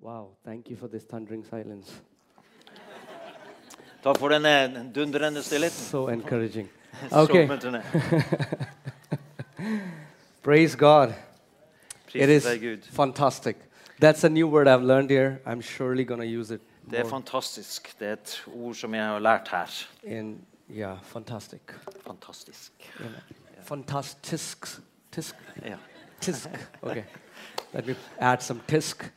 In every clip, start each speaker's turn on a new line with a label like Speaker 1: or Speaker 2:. Speaker 1: Wow, thank you for this thundering silence.
Speaker 2: Takk for den eh, dundrende stillheten.
Speaker 1: So encouraging.
Speaker 2: Så
Speaker 1: Okay.
Speaker 2: oppmuntrende.
Speaker 1: Praise God. It
Speaker 2: Pris
Speaker 1: is
Speaker 2: være Gud.
Speaker 1: fantastic. That's a new word I've learned here. I'm surely going to use it
Speaker 2: Det er
Speaker 1: more
Speaker 2: fantastisk. Det er et ord som jeg har lært her.
Speaker 1: in yeah, fantastic.
Speaker 2: Fantastisk.
Speaker 1: You know. Fantastisk. Tisk.
Speaker 2: Ja.
Speaker 1: Tisk. Okay. Let me add some tisk.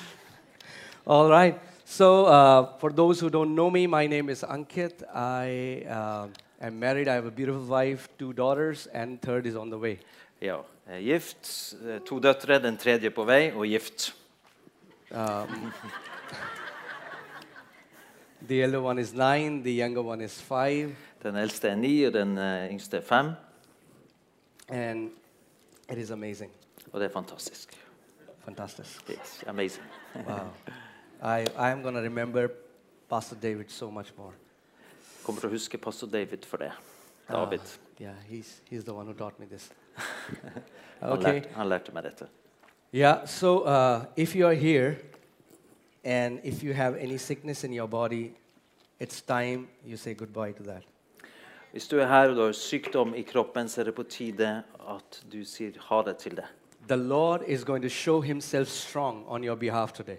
Speaker 1: All right. So, uh, for those who don't know me, my name is Ankit. I um am married. I have a beautiful wife, two daughters, and third is on the way.
Speaker 2: ja. Eh, Gift. eh, To døtre, den tredje på vei, og gift.
Speaker 1: Um, the elder one is nine, the younger one is five,
Speaker 2: Den eldste er ni, og den eh, yngste er fem.
Speaker 1: and it is amazing.
Speaker 2: Og det er fantastisk.
Speaker 1: Fantastic.
Speaker 2: It's amazing.
Speaker 1: Wow. I, I'm going to remember Pastor David so much more.
Speaker 2: Kommer til å huske pastor David for det.
Speaker 1: Uh,
Speaker 2: David.
Speaker 1: yeah, he's, he's the one who taught me this.
Speaker 2: Han,
Speaker 1: okay.
Speaker 2: lærte, han lærte meg dette.
Speaker 1: Yeah, so uh, if you are here and if you have any sickness in your body, it's time you say goodbye to that.
Speaker 2: Hvis du er her og du har sykdom i kroppen, så er det på tide at du sier ha det til det.
Speaker 1: The Lord is going to show himself strong on your behalf today.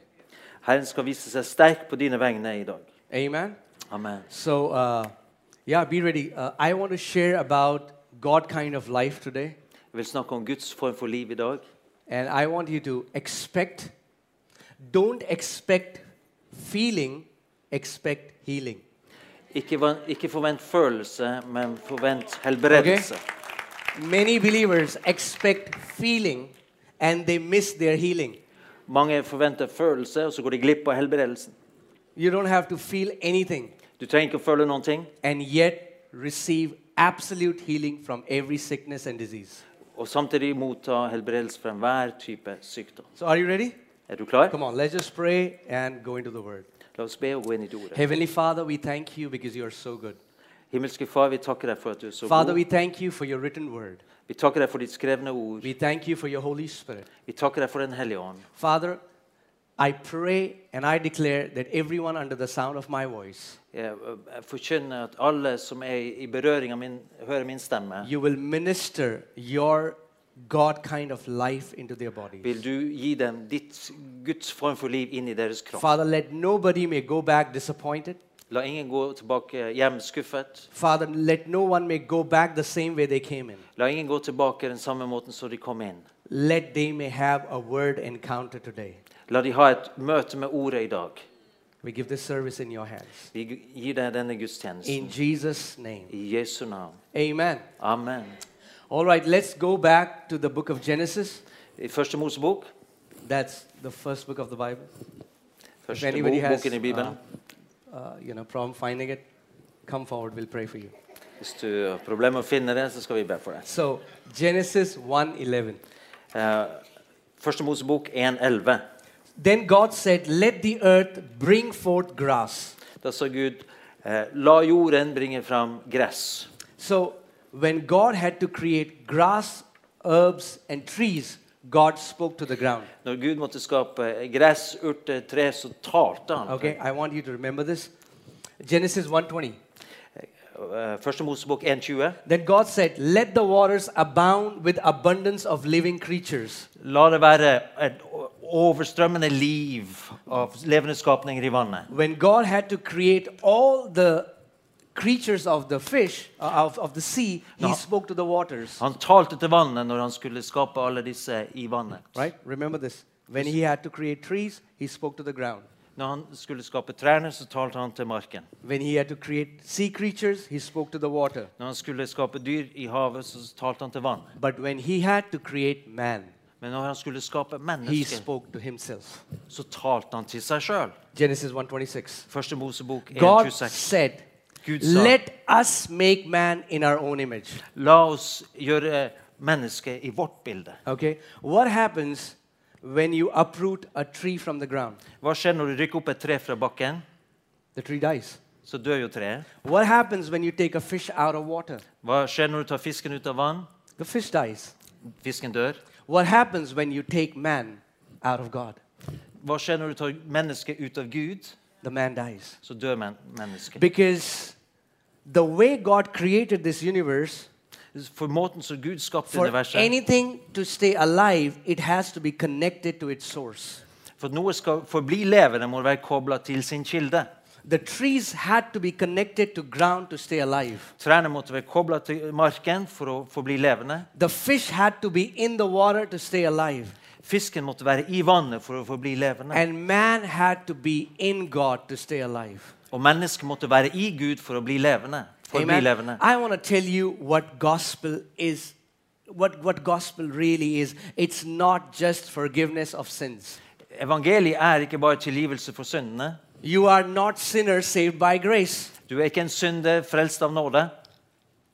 Speaker 2: Herren skal vise seg sterk på dine vegne i dag.
Speaker 1: Amen.
Speaker 2: Amen.
Speaker 1: So, uh, yeah, be ready. Uh, I want to share about God kind of life today,
Speaker 2: Jeg vil snakke om Guds form for liv i dag.
Speaker 1: and I want you to expect. Don't expect feeling. Expect healing.
Speaker 2: Ikke, va- ikke forvent følelse, men forvent helbredelse.
Speaker 1: Many believers expect feeling, and they miss their healing.
Speaker 2: Mange forventer følelse, og så går de glipp av helbredelsen.
Speaker 1: You don't have to feel anything,
Speaker 2: Du trenger ikke å føle noen ting,
Speaker 1: and yet receive absolute healing from every sickness and disease.
Speaker 2: og samtidig motta helbredelse fra enhver type sykdom.
Speaker 1: So, are you ready?
Speaker 2: Er du klar?
Speaker 1: Come on, let's just pray and go into the Word.
Speaker 2: La oss be og gå inn i det ordet.
Speaker 1: Heavenly Father, we thank you because you are so good.
Speaker 2: Himmelske Far, vi takker deg for at du er så
Speaker 1: Father,
Speaker 2: god.
Speaker 1: we thank you for your written word.
Speaker 2: Vi takker deg for ditt skrevne ord.
Speaker 1: We thank you for your Holy Spirit.
Speaker 2: Vi takker deg for Den hellige ånd.
Speaker 1: Father, I pray and I declare that everyone under the sound of my voice,
Speaker 2: Jeg jeg forkynner at alle som er i berøring av min, hører min stemme,
Speaker 1: you will minister your God kind of life into their bodies.
Speaker 2: vil du gi dem ditt Guds form for liv inn i deres kropp.
Speaker 1: Father, let nobody may go back disappointed.
Speaker 2: La ingen gå tilbake hjem skuffet.
Speaker 1: Father, let no one may go back the same way they came in.
Speaker 2: La ingen gå tilbake den samme måten som de kom inn.
Speaker 1: Let they may have a word encounter today.
Speaker 2: La de ha et møte med ordet i dag.
Speaker 1: We give this service in your hands.
Speaker 2: Vi gir deg denne
Speaker 1: In
Speaker 2: gudstjenesten.
Speaker 1: Jesus' name.
Speaker 2: I Jesu navn.
Speaker 1: Amen.
Speaker 2: Amen.
Speaker 1: All right, let's go back to the book of Genesis.
Speaker 2: I Første Mosebok,
Speaker 1: That's the first book of the Bible. If
Speaker 2: første
Speaker 1: anybody
Speaker 2: bok,
Speaker 1: has,
Speaker 2: boken i Bibelen.
Speaker 1: uh, uh, you know, problem finding it, come forward. We'll pray for you.
Speaker 2: Hvis du har problemer med å finne det, så skal vi be for deg.
Speaker 1: So Genesis 1:11.
Speaker 2: Eh, Første Mosebok 1,11.
Speaker 1: Then God said, "Let the earth bring forth grass."
Speaker 2: Da sa Gud, eh, la jorden bringe fram gress.
Speaker 1: So when God had to create grass, herbs, and trees, God spoke to the ground.
Speaker 2: Når Gud måtte skape gress, urter, tre, så talte han.
Speaker 1: Okay, I want you to remember this. Genesis 1:20.
Speaker 2: Eh, Første Mosebok 1,20.
Speaker 1: Then God said, "Let the waters abound with abundance of living creatures."
Speaker 2: La det være et o- overstrømmende liv av levende skapninger i vannet.
Speaker 1: when God had to create all the creatures of the fish, uh, of, of the sea, He
Speaker 2: No. Uh-huh.
Speaker 1: spoke to the waters.
Speaker 2: Han talte til vannet når han skulle skape alle disse i vannet.
Speaker 1: Right? Remember this. When He had to create trees, He spoke to the ground.
Speaker 2: Når han skulle skape trærne, så talte han til marken.
Speaker 1: When He had to create sea creatures, He spoke to the water.
Speaker 2: Når han skulle skape dyr i havet, så talte han til vannet.
Speaker 1: But when He had to create man,
Speaker 2: Men når han skulle skape
Speaker 1: He
Speaker 2: mennesker,
Speaker 1: spoke to Himself.
Speaker 2: så talte han til seg sjøl.
Speaker 1: Genesis 1:26.
Speaker 2: Første Mosebok
Speaker 1: God
Speaker 2: 1,26.
Speaker 1: said,
Speaker 2: Gud sa-
Speaker 1: "Let us make man in our own image."
Speaker 2: La oss gjøre mennesket i vårt bilde.
Speaker 1: Okay? What happens when you uproot a tree from the ground?
Speaker 2: Hva skjer når du rykker opp et tre fra bakken?
Speaker 1: The tree dies.
Speaker 2: Så dør jo treet.
Speaker 1: What happens when you take a fish out of water?
Speaker 2: Hva skjer når du tar fisken ut av vann?
Speaker 1: The fish dies.
Speaker 2: Fisken dør.
Speaker 1: What happens when you take man out of God?
Speaker 2: Hva skjer når du tar mennesket ut av Gud?
Speaker 1: The man dies.
Speaker 2: Så dør men mennesket.
Speaker 1: Because the way God created this universe,
Speaker 2: For måten som Gud skapte
Speaker 1: for
Speaker 2: universet
Speaker 1: anything to stay alive, it has to be connected to its source.
Speaker 2: For at noe skal forbli levende, må det være kobla til sin kilde.
Speaker 1: The trees had to be connected to ground to stay alive.
Speaker 2: Trærne måtte være kobla til marken for å forbli levende.
Speaker 1: The fish had to be in the water to stay alive.
Speaker 2: Fisken måtte være i vannet for å forbli levende.
Speaker 1: And man had to be in God to stay alive.
Speaker 2: Og mennesket måtte være i Gud for eh? å bli levende. Forbli levende.
Speaker 1: I want to tell you what gospel is. What, what gospel really is. It's not just forgiveness of sins.
Speaker 2: Evangeliet er ikke bare tilgivelse for syndene.
Speaker 1: You are not sinners saved by grace.
Speaker 2: Du er ikke en synder frelst av nåde.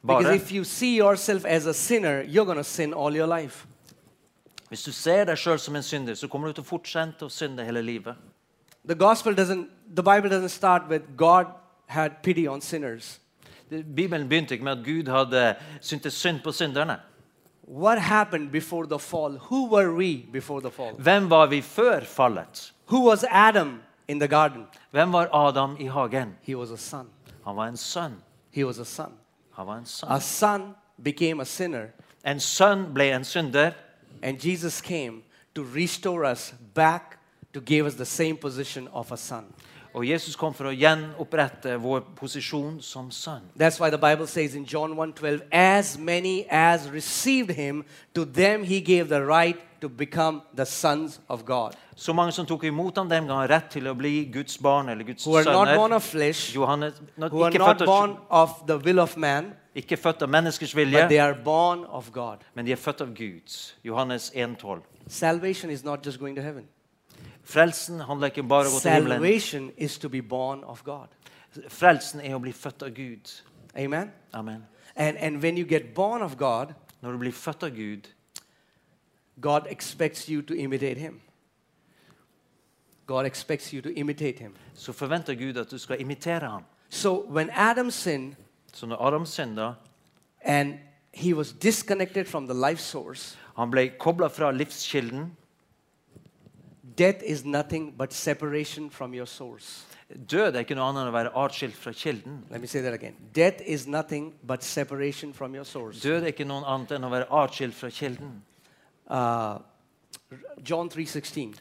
Speaker 1: Because
Speaker 2: Bare.
Speaker 1: if you see yourself as a sinner, you're going to sin all your life.
Speaker 2: Hvis du ser deg sjøl som en synder, så kommer du til å fortsette å synde hele livet.
Speaker 1: The gospel doesn't, the Bible doesn't start with God had pity on sinners.
Speaker 2: Det- Bibelen begynte ikke med at Gud hadde syntes synd på synderne.
Speaker 1: What happened before the fall? Who were we before the fall?
Speaker 2: Hvem var vi før fallet?
Speaker 1: Who was Adam in the garden?
Speaker 2: Hvem var Adam i hagen?
Speaker 1: He was a son.
Speaker 2: Han var en sønn.
Speaker 1: He was a son.
Speaker 2: Han var en sønn.
Speaker 1: A son became a sinner,
Speaker 2: En sønn ble en synder,
Speaker 1: and Jesus came to restore us back to give us the same position of a son.
Speaker 2: og Jesus kom for å gjenopprette vår posisjon som sønn.
Speaker 1: That's why the Bible says in John 1:12, as many as received him, to them he gave the right to become the sons of God,
Speaker 2: Så mange som tok imot ham, dem ga han rett til å bli Guds barn eller Guds
Speaker 1: who are not born
Speaker 2: sønner.
Speaker 1: of flesh,
Speaker 2: Johannes, not,
Speaker 1: who are
Speaker 2: ikke,
Speaker 1: not
Speaker 2: født av,
Speaker 1: born of the will of man,
Speaker 2: ikke født av menneskers
Speaker 1: but they
Speaker 2: vilje,
Speaker 1: are born of God.
Speaker 2: men de er født av Gud. Johannes 1,12.
Speaker 1: Salvation is not just going to heaven.
Speaker 2: Frelsen handler ikke bare om å gå til himmelen.
Speaker 1: Salvation is to be born of God.
Speaker 2: Frelsen er å bli født av Gud.
Speaker 1: Amen.
Speaker 2: Amen.
Speaker 1: And and when you get born of God,
Speaker 2: Når du blir født av Gud,
Speaker 1: God expects you to imitate him. God expects you to imitate him.
Speaker 2: så forventer Gud at du skal imitere ham.
Speaker 1: So when Adam sinned
Speaker 2: Så når Adam synda,
Speaker 1: and he was disconnected from the life source,
Speaker 2: han ble kobla fra livskilden.
Speaker 1: death is nothing but separation from your source.
Speaker 2: Død er ikke noe annet enn å være atskilt fra kilden.
Speaker 1: Let me say that again. Death is nothing but separation from your source.
Speaker 2: Død er ikke noe annet enn å være atskilt fra kilden.
Speaker 1: Uh, John 3:16.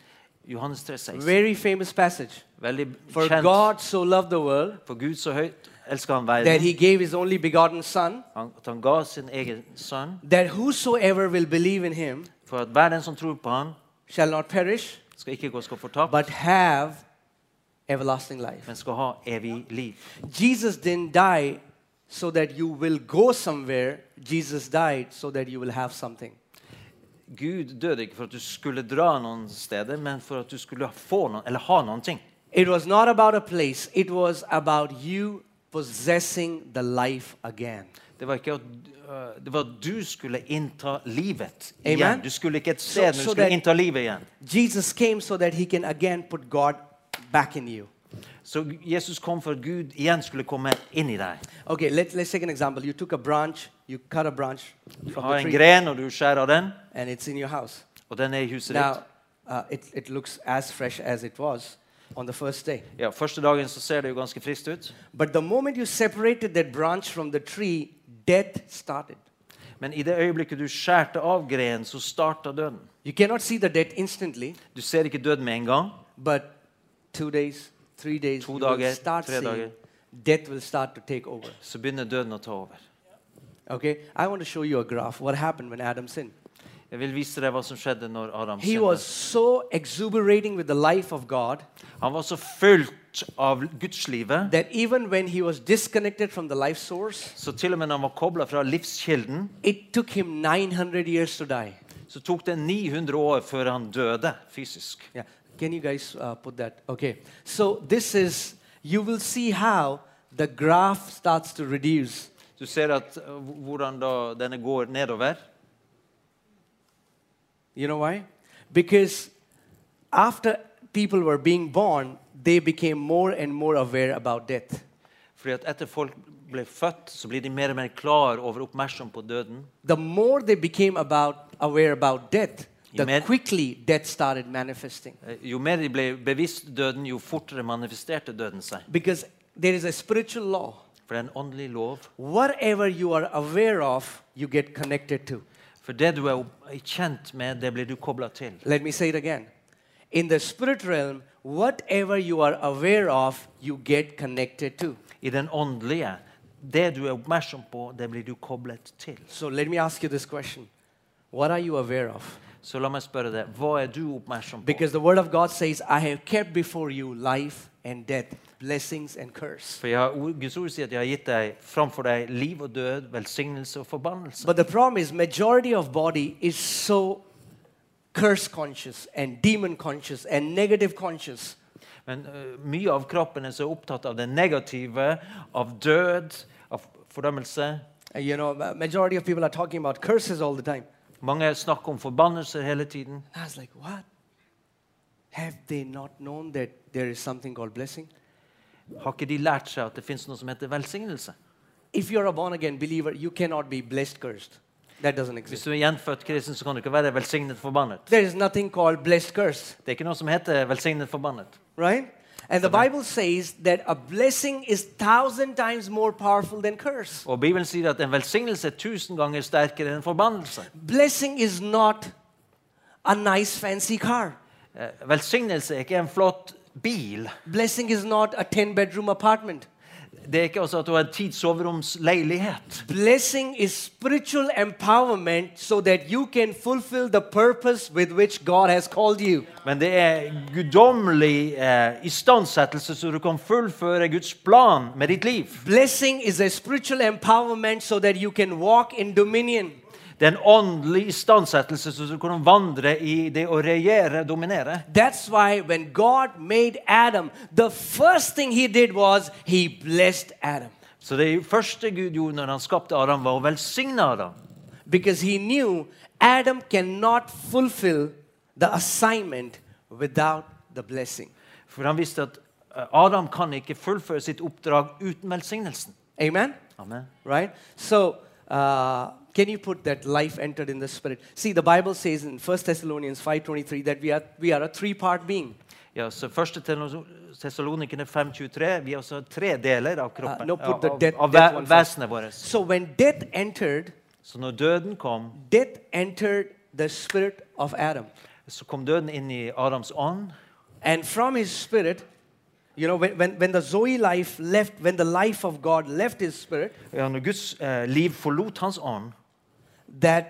Speaker 2: Johannes 3,16.
Speaker 1: Very famous passage.
Speaker 2: Veldig
Speaker 1: For
Speaker 2: kjent.
Speaker 1: God so loved the world
Speaker 2: For Gud så høyt elsker han
Speaker 1: that
Speaker 2: verden
Speaker 1: he gave his only begotten son
Speaker 2: han, at han ga sin egen sønn
Speaker 1: that whosoever will believe in him
Speaker 2: for at hver den som tror på han
Speaker 1: shall not perish
Speaker 2: skal ikke gå skal fortapt,
Speaker 1: but have everlasting life.
Speaker 2: men skal ha evig liv.
Speaker 1: Jesus didn't die so that you will go somewhere. Jesus died so that you will have something.
Speaker 2: Gud døde ikke for at du skulle dra noen steder, men for at du skulle få noen, eller ha noen ting.
Speaker 1: It was not about a place, it was about you possessing the life again.
Speaker 2: Det var ikke at øh, det var at du skulle innta livet
Speaker 1: Amen.
Speaker 2: igjen. Du skulle ikke
Speaker 1: So-
Speaker 2: et sted, men du
Speaker 1: so
Speaker 2: skulle
Speaker 1: that-
Speaker 2: innta livet igjen.
Speaker 1: Jesus came so that he can again put God back in you.
Speaker 2: Så Jesus kom for at Gud igjen skulle komme inn i deg.
Speaker 1: Okay, let, let's take an example. You took a branch, you cut a branch
Speaker 2: Du
Speaker 1: from
Speaker 2: har
Speaker 1: the
Speaker 2: en
Speaker 1: tree,
Speaker 2: gren, og du skjærer den,
Speaker 1: and it's in your house.
Speaker 2: og den er i huset ditt.
Speaker 1: Now, uh, it, it looks as fresh as it was on the first day.
Speaker 2: Ja, Første dagen så ser det jo ganske friskt ut,
Speaker 1: But the moment you separated that branch from the tree, death started.
Speaker 2: men i det øyeblikket du skjærte av grenen, så starta døden.
Speaker 1: You cannot see the death instantly,
Speaker 2: Du ser ikke døden med en gang,
Speaker 1: but two days, three days,
Speaker 2: Two
Speaker 1: you will
Speaker 2: dagar,
Speaker 1: start
Speaker 2: tre
Speaker 1: seeing
Speaker 2: dagar.
Speaker 1: death will start to take over.
Speaker 2: så begynner døden å ta over.
Speaker 1: Okay? I want to show you a graph what happened when Adam sinned.
Speaker 2: Jeg vil vise deg hva som skjedde når Adam
Speaker 1: He
Speaker 2: synda.
Speaker 1: was so exuberating with the life of God
Speaker 2: Han var så fullt av gudslivet,
Speaker 1: that even when he was disconnected from the life source,
Speaker 2: så til og med når han var kobla fra livskilden,
Speaker 1: it took him 900 years to die.
Speaker 2: Så tok det 900 år før han døde fysisk.
Speaker 1: Yeah. Can you guys uh, put that? Okay. So this is, you will see how the graph starts to reduce.
Speaker 2: Du ser at eh, hv- hvordan da denne går nedover.
Speaker 1: You know why? Because after people were being born, they became more and more aware about death.
Speaker 2: Fordi at etter folk ble født, så blir de mer og mer klar over oppmerksom på døden.
Speaker 1: The more they became about, aware about death, the
Speaker 2: Amen.
Speaker 1: quickly death started manifesting.
Speaker 2: Eh, Jo mer de ble bevisst døden, jo fortere manifesterte døden seg.
Speaker 1: Because there is a spiritual law.
Speaker 2: For det er en åndelig lov.
Speaker 1: Whatever you are aware of, you get connected to.
Speaker 2: For det du er opp- kjent med, det blir du kobla til.
Speaker 1: Let me say it again. In the spirit realm, whatever you are aware of, you get connected to.
Speaker 2: I den åndelige, det du er oppmerksom på, det blir du koblet til.
Speaker 1: So let me ask you this question What are you aware of?
Speaker 2: Så la meg spørre deg, hva er du oppmerksom på?
Speaker 1: Because the word of God says, I have kept before you life and death, blessings and curse.
Speaker 2: For jeg har, ord- Guds ord sier at jeg har gitt deg framfor deg liv og død, velsignelse og forbannelse.
Speaker 1: But the problem is, majority of body is so curse conscious and demon conscious and negative conscious.
Speaker 2: Men øh, mye av kroppen er så opptatt av det negative, av død, av fordømmelse.
Speaker 1: Uh, You know, ma- majority of people are talking about curses all the time.
Speaker 2: Mange snakker om forbannelser hele tiden.
Speaker 1: I was like, what? Have they not known that there is something called blessing?
Speaker 2: Har ikke de lært seg at det fins noe som heter velsignelse?
Speaker 1: If you're a born again believer, you cannot be blessed cursed. That doesn't
Speaker 2: Hvis
Speaker 1: exist.
Speaker 2: du er gjenfødt kristen, så kan du ikke være velsignet forbannet.
Speaker 1: There is nothing called blessed cursed,
Speaker 2: Det er ikke noe som heter velsignet forbannet.
Speaker 1: right? And the Bible says that a blessing is thousand times more powerful than curse.
Speaker 2: Og Bibelen sier at en velsignelse er tusen ganger sterkere enn en forbannelse.
Speaker 1: Blessing is not a nice fancy car.
Speaker 2: Eh, Velsignelse er ikke en flott bil.
Speaker 1: Blessing is not a 10 bedroom apartment.
Speaker 2: Det er ikke altså at du har en ti soveromsleilighet.
Speaker 1: Blessing is spiritual empowerment so that you can fulfill the purpose with which God has called you.
Speaker 2: Men det er guddommelig eh, istandsettelse, så du kan fullføre Guds plan med ditt liv.
Speaker 1: Blessing is a spiritual empowerment so that you can walk in dominion.
Speaker 2: Det er en åndelig istandsettelse, så du kan vandre i det å regjere, dominere.
Speaker 1: That's why when God made Adam, the first thing he did was he blessed Adam
Speaker 2: Så det første Gud gjorde når han skapte Adam, var å velsigne Adam.
Speaker 1: because he knew Adam cannot fulfill the assignment without the blessing.
Speaker 2: For han visste at eh, Adam kan ikke fullføre sitt oppdrag uten velsignelsen.
Speaker 1: Amen?
Speaker 2: Amen.
Speaker 1: Right? So, uh, can you put that life entered in the spirit? See, the Bible says in 1 Thessalonians 5:23 that we are we are a three-part being.
Speaker 2: Ja, så Første Tessalonikene 5.23. Vi er altså tre deler av
Speaker 1: Uh,
Speaker 2: kroppen,
Speaker 1: no, put the
Speaker 2: av,
Speaker 1: death,
Speaker 2: av,
Speaker 1: death
Speaker 2: ve-
Speaker 1: one first.
Speaker 2: vesenet vårt.
Speaker 1: So when death entered,
Speaker 2: Så når døden kom,
Speaker 1: death entered the spirit of Adam.
Speaker 2: så kom døden inn i Adams ånd.
Speaker 1: And from his spirit, you know, when, when, when the Zoe life left, when the life of God left his spirit,
Speaker 2: Ja, når Guds eh, liv forlot hans ånd,
Speaker 1: that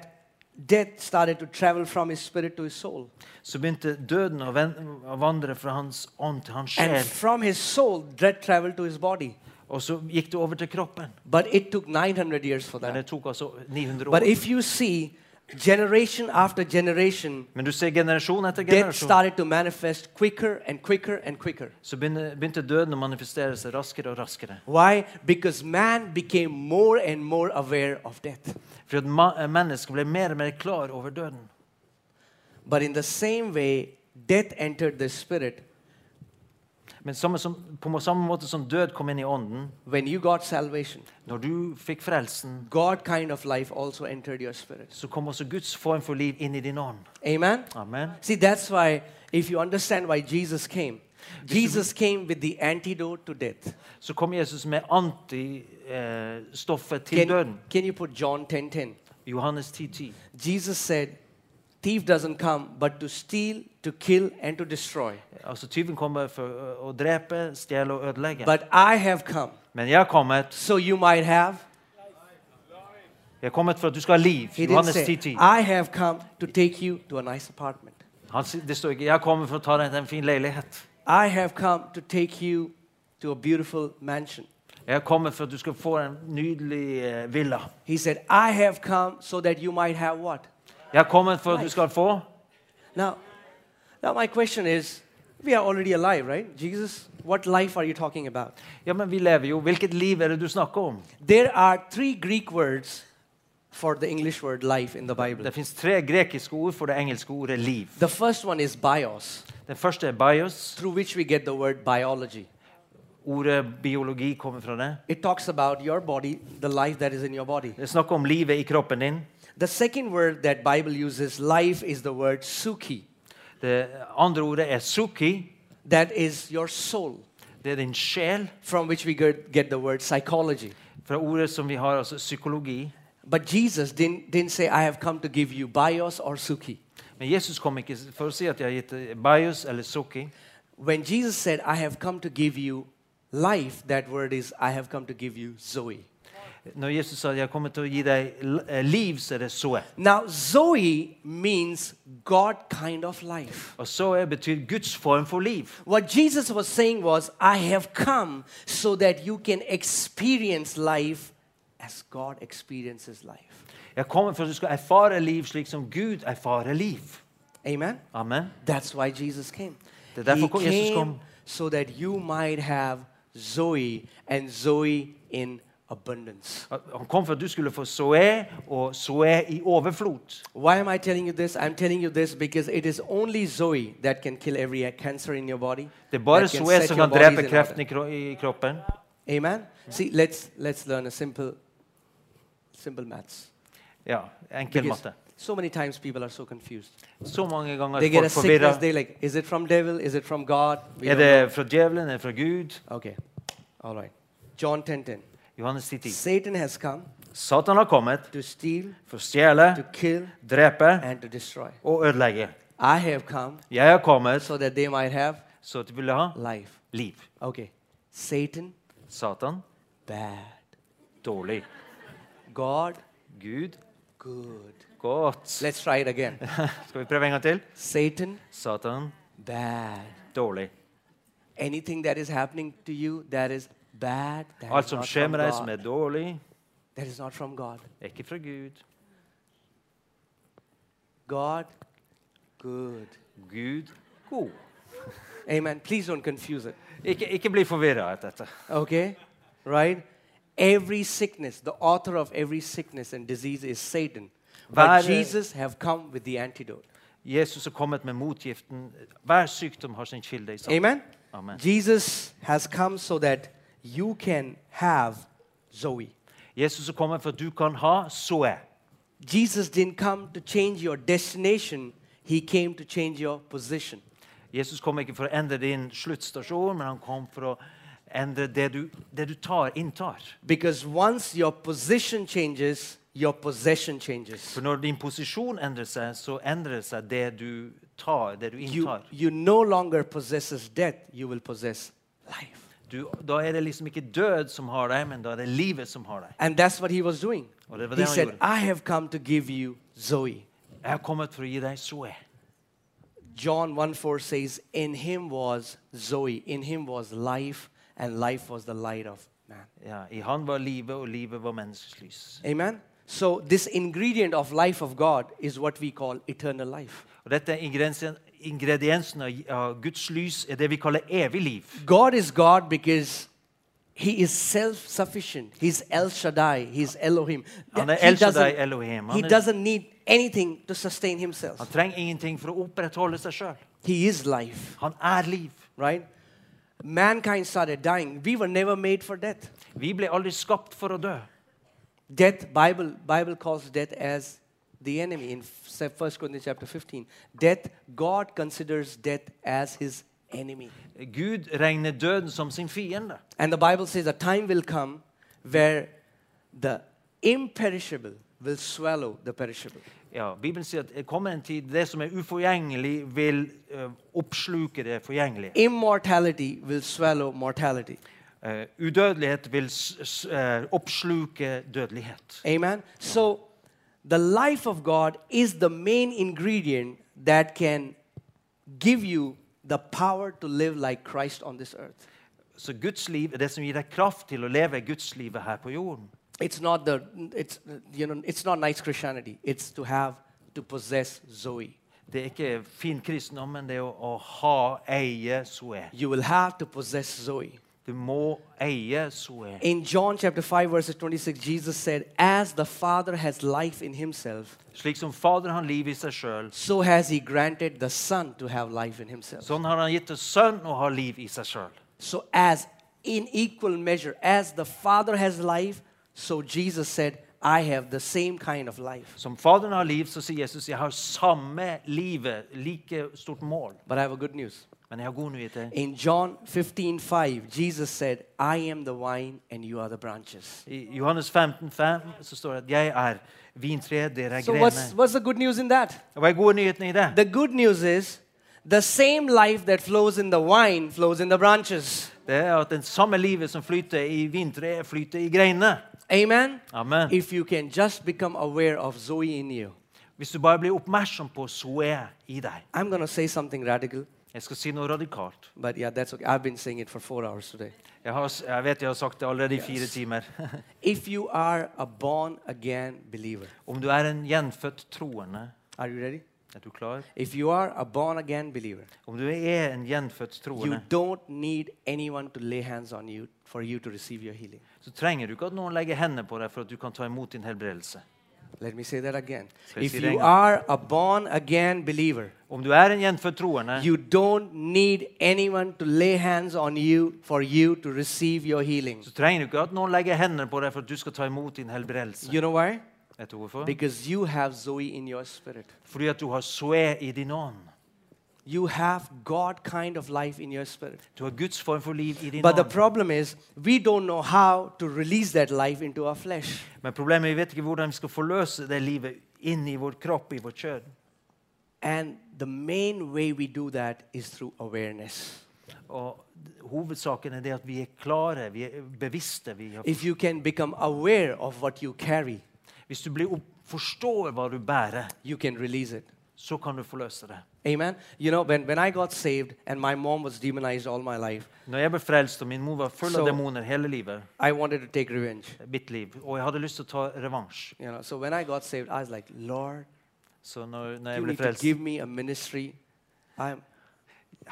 Speaker 1: death started to travel from his spirit to his soul.
Speaker 2: så begynte døden å, ven å vandre fra hans ånd til hans
Speaker 1: And
Speaker 2: sjel.
Speaker 1: from his soul, death traveled to his body.
Speaker 2: Og så gikk det over til kroppen.
Speaker 1: But it took 900 years for
Speaker 2: Men
Speaker 1: that.
Speaker 2: det tok altså 900
Speaker 1: But
Speaker 2: år.
Speaker 1: if you see, generation after generation,
Speaker 2: Men du ser generasjon etter
Speaker 1: death
Speaker 2: generasjon,
Speaker 1: started to manifest quicker and quicker and quicker.
Speaker 2: så begynte, begynte døden å manifestere seg raskere og raskere.
Speaker 1: Why? Because man became more and more aware of death.
Speaker 2: For at ma mennesket ble mer og mer klar over døden.
Speaker 1: But in the same way, death entered the spirit.
Speaker 2: Men samme som, på samme måte som død kom inn i ånden,
Speaker 1: When you got salvation,
Speaker 2: når du fikk frelsen,
Speaker 1: God kind of life also entered your spirit.
Speaker 2: så kom også Guds form for liv inn i din ånd.
Speaker 1: Amen?
Speaker 2: Amen.
Speaker 1: See, that's why, if you understand why Jesus came, Jesus came with the antidote to death.
Speaker 2: Så kom Jesus med antistoffet til
Speaker 1: Can,
Speaker 2: døden.
Speaker 1: can you put John 10:10?
Speaker 2: Johannes 10,10.
Speaker 1: Jesus said, Thief doesn't come but to steal, to kill, and to destroy.
Speaker 2: Altså, tyven kommer for ø, å drepe, stjele og ødelegge.
Speaker 1: But I have come,
Speaker 2: Men jeg er kommet
Speaker 1: so you might have.
Speaker 2: Jeg er kommet for at du skal ha liv.
Speaker 1: He didn't
Speaker 2: Johannes
Speaker 1: say,
Speaker 2: 10,10.
Speaker 1: I have come to take you to a nice apartment.
Speaker 2: Han sier- Det står ikke 'jeg kommer for å ta deg til en fin leilighet'.
Speaker 1: I have come to take you to a beautiful mansion.
Speaker 2: Jeg er kommet for at du skal få en nydelig eh, villa.
Speaker 1: He said, I have come so that you might have what?
Speaker 2: Jeg er kommet for at du skal få
Speaker 1: Now, now my question is, we are already alive, right? Jesus, what life are you talking about?
Speaker 2: Ja, men vi lever jo. Hvilket liv er det du snakker om?
Speaker 1: There are three Greek words for the English word life in the Bible.
Speaker 2: Det fins tre grekiske ord for det engelske ordet 'liv'.
Speaker 1: The first one is bios,
Speaker 2: Den første er bios.
Speaker 1: through which we get the word biology.
Speaker 2: Ordet biologi kommer fra det.
Speaker 1: It talks about your body, the life that is in your body.
Speaker 2: Det er snakk om livet i kroppen din.
Speaker 1: The second word that Bible uses, life, is the word suki.
Speaker 2: Det andre ordet er suki.
Speaker 1: That is your soul,
Speaker 2: Det er din sjel.
Speaker 1: from which we get get the word psychology.
Speaker 2: Fra ordet som vi har, altså psykologi.
Speaker 1: But Jesus didn't, didn't say, I have come to give you bios or suki.
Speaker 2: Men Jesus kom ikke for å si at jeg har gitt bios eller suki.
Speaker 1: When Jesus said, I have come to give you life, that word is, I have come to give you zoe.
Speaker 2: Når Jesus sa jeg kommer til å gi deg l- eh, liv, så er det soe.
Speaker 1: Now, zoe means God kind of life.
Speaker 2: Og soe betyr Guds form for liv.
Speaker 1: What Jesus was saying was, I have come so that you can experience life as God experiences life.
Speaker 2: Jeg kommer for at du skal erfare liv slik som Gud erfarer liv.
Speaker 1: Amen?
Speaker 2: Amen.
Speaker 1: That's why Jesus came.
Speaker 2: Det er derfor
Speaker 1: he
Speaker 2: kom-
Speaker 1: came
Speaker 2: Jesus kom.
Speaker 1: so that you might have Zoe and Zoe in abundance.
Speaker 2: Han kom for at du skulle få soe, og soe i overflod.
Speaker 1: Why am I telling you this? I'm telling you this because it is only Zoe that can kill every uh, cancer in your body.
Speaker 2: Det er bare
Speaker 1: that can
Speaker 2: soe
Speaker 1: set
Speaker 2: som
Speaker 1: your
Speaker 2: kan drepe
Speaker 1: bodies in
Speaker 2: kreften
Speaker 1: order.
Speaker 2: i, kro i kroppen.
Speaker 1: Amen. See, let's let's learn a simple simple maths.
Speaker 2: Ja, enkel
Speaker 1: Because
Speaker 2: matte.
Speaker 1: So many times people are so confused.
Speaker 2: Så mange ganger
Speaker 1: They get a
Speaker 2: folk forvirra.
Speaker 1: sickness. They like, is it from devil? Is it from God? We
Speaker 2: Er
Speaker 1: don't know.
Speaker 2: det fra djevelen? Er det fra Gud?
Speaker 1: Okay. All right. John 10:10.
Speaker 2: Johannes 10.10.
Speaker 1: Satan has come
Speaker 2: Satan har kommet
Speaker 1: to steal,
Speaker 2: for å stjele,
Speaker 1: to kill,
Speaker 2: drepe
Speaker 1: and to destroy.
Speaker 2: og ødelegge.
Speaker 1: I have come
Speaker 2: Jeg har kommet
Speaker 1: so that they might have
Speaker 2: så at du ville ha
Speaker 1: life.
Speaker 2: liv.
Speaker 1: Okay. Satan,
Speaker 2: Satan
Speaker 1: bad.
Speaker 2: dårlig.
Speaker 1: God,
Speaker 2: Gud
Speaker 1: good.
Speaker 2: godt.
Speaker 1: Let's try it again.
Speaker 2: Skal vi prøve en gang til?
Speaker 1: Satan,
Speaker 2: Satan
Speaker 1: bad.
Speaker 2: dårlig.
Speaker 1: Anything that is happening to you that is bad, that
Speaker 2: Alt
Speaker 1: is,
Speaker 2: som
Speaker 1: not
Speaker 2: skjer
Speaker 1: from
Speaker 2: med deg som
Speaker 1: God.
Speaker 2: er dårlig,
Speaker 1: that is not from God.
Speaker 2: er ikke fra Gud.
Speaker 1: God, good.
Speaker 2: Gud god.
Speaker 1: Amen. Please don't confuse it.
Speaker 2: Ikke, ikke bli forvirra av dette.
Speaker 1: Okay? Right? Every sickness, the author of every sickness and disease is Satan.
Speaker 2: Waar-
Speaker 1: But Jesus have come with the antidote.
Speaker 2: Jesus har kommet med motgiften. Hver sykdom har sin kilde i Satan.
Speaker 1: Amen?
Speaker 2: Amen.
Speaker 1: Jesus has come so that you can have Zoe.
Speaker 2: Jesus har kommet for at du kan ha soe.
Speaker 1: Jesus didn't come to change your destination, he came to change your position.
Speaker 2: Jesus kom ikke for å endre din sluttstasjon, men han kom for å endre det du, det du tar, inntar.
Speaker 1: Because once your position changes, your possession changes.
Speaker 2: For når din posisjon endrer seg, så endrer det seg det du tar, det du
Speaker 1: You,
Speaker 2: inntar.
Speaker 1: you no longer possesses death, you will possess life.
Speaker 2: Du, da er det liksom ikke død som har deg, men da er det livet som har deg.
Speaker 1: And that's what he was doing.
Speaker 2: Og det var
Speaker 1: He
Speaker 2: det han
Speaker 1: said,
Speaker 2: gjorde.
Speaker 1: I have come to give you Zoe.
Speaker 2: Jeg har kommet for å gi deg soe.
Speaker 1: John 1 4 says, In him was Zoe, in him was life, and life was the light of man.
Speaker 2: Ja, I han var livet, og livet var menneskets lys.
Speaker 1: Amen. So this ingredient of life of God is what we call eternal life.
Speaker 2: Og dette er ingrediensen, ingrediensen av- av Guds lys er det vi kaller evig liv.
Speaker 1: God is God because he is self-sufficient. He's El Shaddai. He's Elohim.
Speaker 2: Han
Speaker 1: That-
Speaker 2: er El
Speaker 1: he doesn't-
Speaker 2: Shaddai, Elohim. Han
Speaker 1: He
Speaker 2: er-
Speaker 1: doesn't need anything to sustain
Speaker 2: Han
Speaker 1: himself.
Speaker 2: trenger ingenting for å opprettholde seg sjøl.
Speaker 1: He is life,
Speaker 2: Han er liv.
Speaker 1: right? Mankind started dying. We were never made for death.
Speaker 2: Vi ble aldri skapt for å dø.
Speaker 1: Death, Bible, Bible calls death as the enemy in 1 Corinthians chapter 15. Death, God considers death as his enemy.
Speaker 2: Gud regner døden som sin fiende.
Speaker 1: And the Bible says a time will come where the imperishable will swallow the perishable.
Speaker 2: Ja, Bibelen sier at det kommer en tid det som er uforgjengelig, vil eh, oppsluke det forgjengelige.
Speaker 1: Immortality will swallow mortality.
Speaker 2: Eh, udødelighet vil s s eh, oppsluke dødelighet.
Speaker 1: Amen. So the life of God is the main ingredient that can give you the power to live like Christ on this earth.
Speaker 2: Så Guds liv er det som gir deg kraft til å leve Gudslivet her på jorden.
Speaker 1: it's not the it's you know it's not nice christianity it's to have to possess zoe
Speaker 2: Det er ikke fin kristendom, men det er å, å ha, eie, soe.
Speaker 1: you will have to possess zoe
Speaker 2: Du må eie soe.
Speaker 1: in john chapter 5 verses 26 jesus said as the father has life in himself
Speaker 2: Slik som Faderen har liv i seg sjøl,
Speaker 1: so has he granted the son to have life in himself
Speaker 2: sånn har han gitt oss sønn og har liv i seg sjøl.
Speaker 1: so as in equal measure as the father has life so jesus said I have the same kind of life,
Speaker 2: Som Faderen har liv, så sier Jesus jeg har samme livet, like stort mål.
Speaker 1: but I have a good news.
Speaker 2: Men jeg har gode nyheter.
Speaker 1: In John 15 5, Jesus said, I am the vine and you are the branches.
Speaker 2: I Johannes 15, 5, så står det at 'jeg er vintreet, dere er
Speaker 1: So, what's,
Speaker 2: grener'.
Speaker 1: what's the good news in that?
Speaker 2: Hva er gode nyhetene i det?
Speaker 1: The good news is the same life that flows in the vine flows in the branches.
Speaker 2: Det er at den samme livet som flyter i vintreet, flyter i greinene.
Speaker 1: Amen?
Speaker 2: Amen.
Speaker 1: If you can just become aware of Zoe in you,
Speaker 2: Hvis du bare blir oppmerksom på Zoe i deg
Speaker 1: I'm going to say something radical,
Speaker 2: Jeg skal si noe radikalt.
Speaker 1: but yeah, that's okay. I've been saying it for four hours today.
Speaker 2: Jeg, har, jeg vet jeg har sagt det allerede i fire timer.
Speaker 1: If you are a born again believer,
Speaker 2: Om du er en gjenfødt troende
Speaker 1: are you ready?
Speaker 2: Er du klar?
Speaker 1: If you are a born again believer,
Speaker 2: Om du er en gjenfødt
Speaker 1: you
Speaker 2: troende,
Speaker 1: don't need anyone to lay hands on you for you to receive your healing.
Speaker 2: så trenger du ikke at noen legger hendene på deg for at du kan ta imot din helbredelse.
Speaker 1: Let me say that again.
Speaker 2: Say
Speaker 1: If
Speaker 2: it
Speaker 1: you
Speaker 2: again.
Speaker 1: are a born again believer,
Speaker 2: Om du er en gjenfødt troende,
Speaker 1: you don't need anyone to lay hands on you for you to receive your healing.
Speaker 2: så trenger du ikke at noen legger hendene på deg for at du skal ta imot din helbredelse.
Speaker 1: You know why?
Speaker 2: Vet du hvorfor?
Speaker 1: Because you have Zoe in your spirit.
Speaker 2: Fordi at du har soe i din ånd.
Speaker 1: You have God kind of life in your spirit.
Speaker 2: Du har Guds form for liv i din
Speaker 1: But the
Speaker 2: ånd.
Speaker 1: problem is, we don't know how to release that life into our flesh.
Speaker 2: Men problemet er vi vet ikke hvordan vi skal forløse det livet inn i vår kropp, i vår kjød.
Speaker 1: And the main way we do that is through awareness.
Speaker 2: Og d- hovedsaken er det at vi er klare, vi er bevisste. Vi har,
Speaker 1: If you can become aware of what you carry,
Speaker 2: hvis du blir opp, forstår hva du bærer,
Speaker 1: you can release it.
Speaker 2: så kan du forløse det.
Speaker 1: Amen. You know, when, when I got saved and my mom was demonized all my life,
Speaker 2: Når jeg ble frelst, og min mor var full
Speaker 1: Så-
Speaker 2: av demoner hele livet,
Speaker 1: I wanted to take revenge.
Speaker 2: mitt liv, og jeg hadde lyst til å ta revansj
Speaker 1: You know, so when I got saved, I was like, Lord,
Speaker 2: Så når, når jeg
Speaker 1: you
Speaker 2: ble
Speaker 1: need to
Speaker 2: frelst
Speaker 1: give me a ministry. I'm,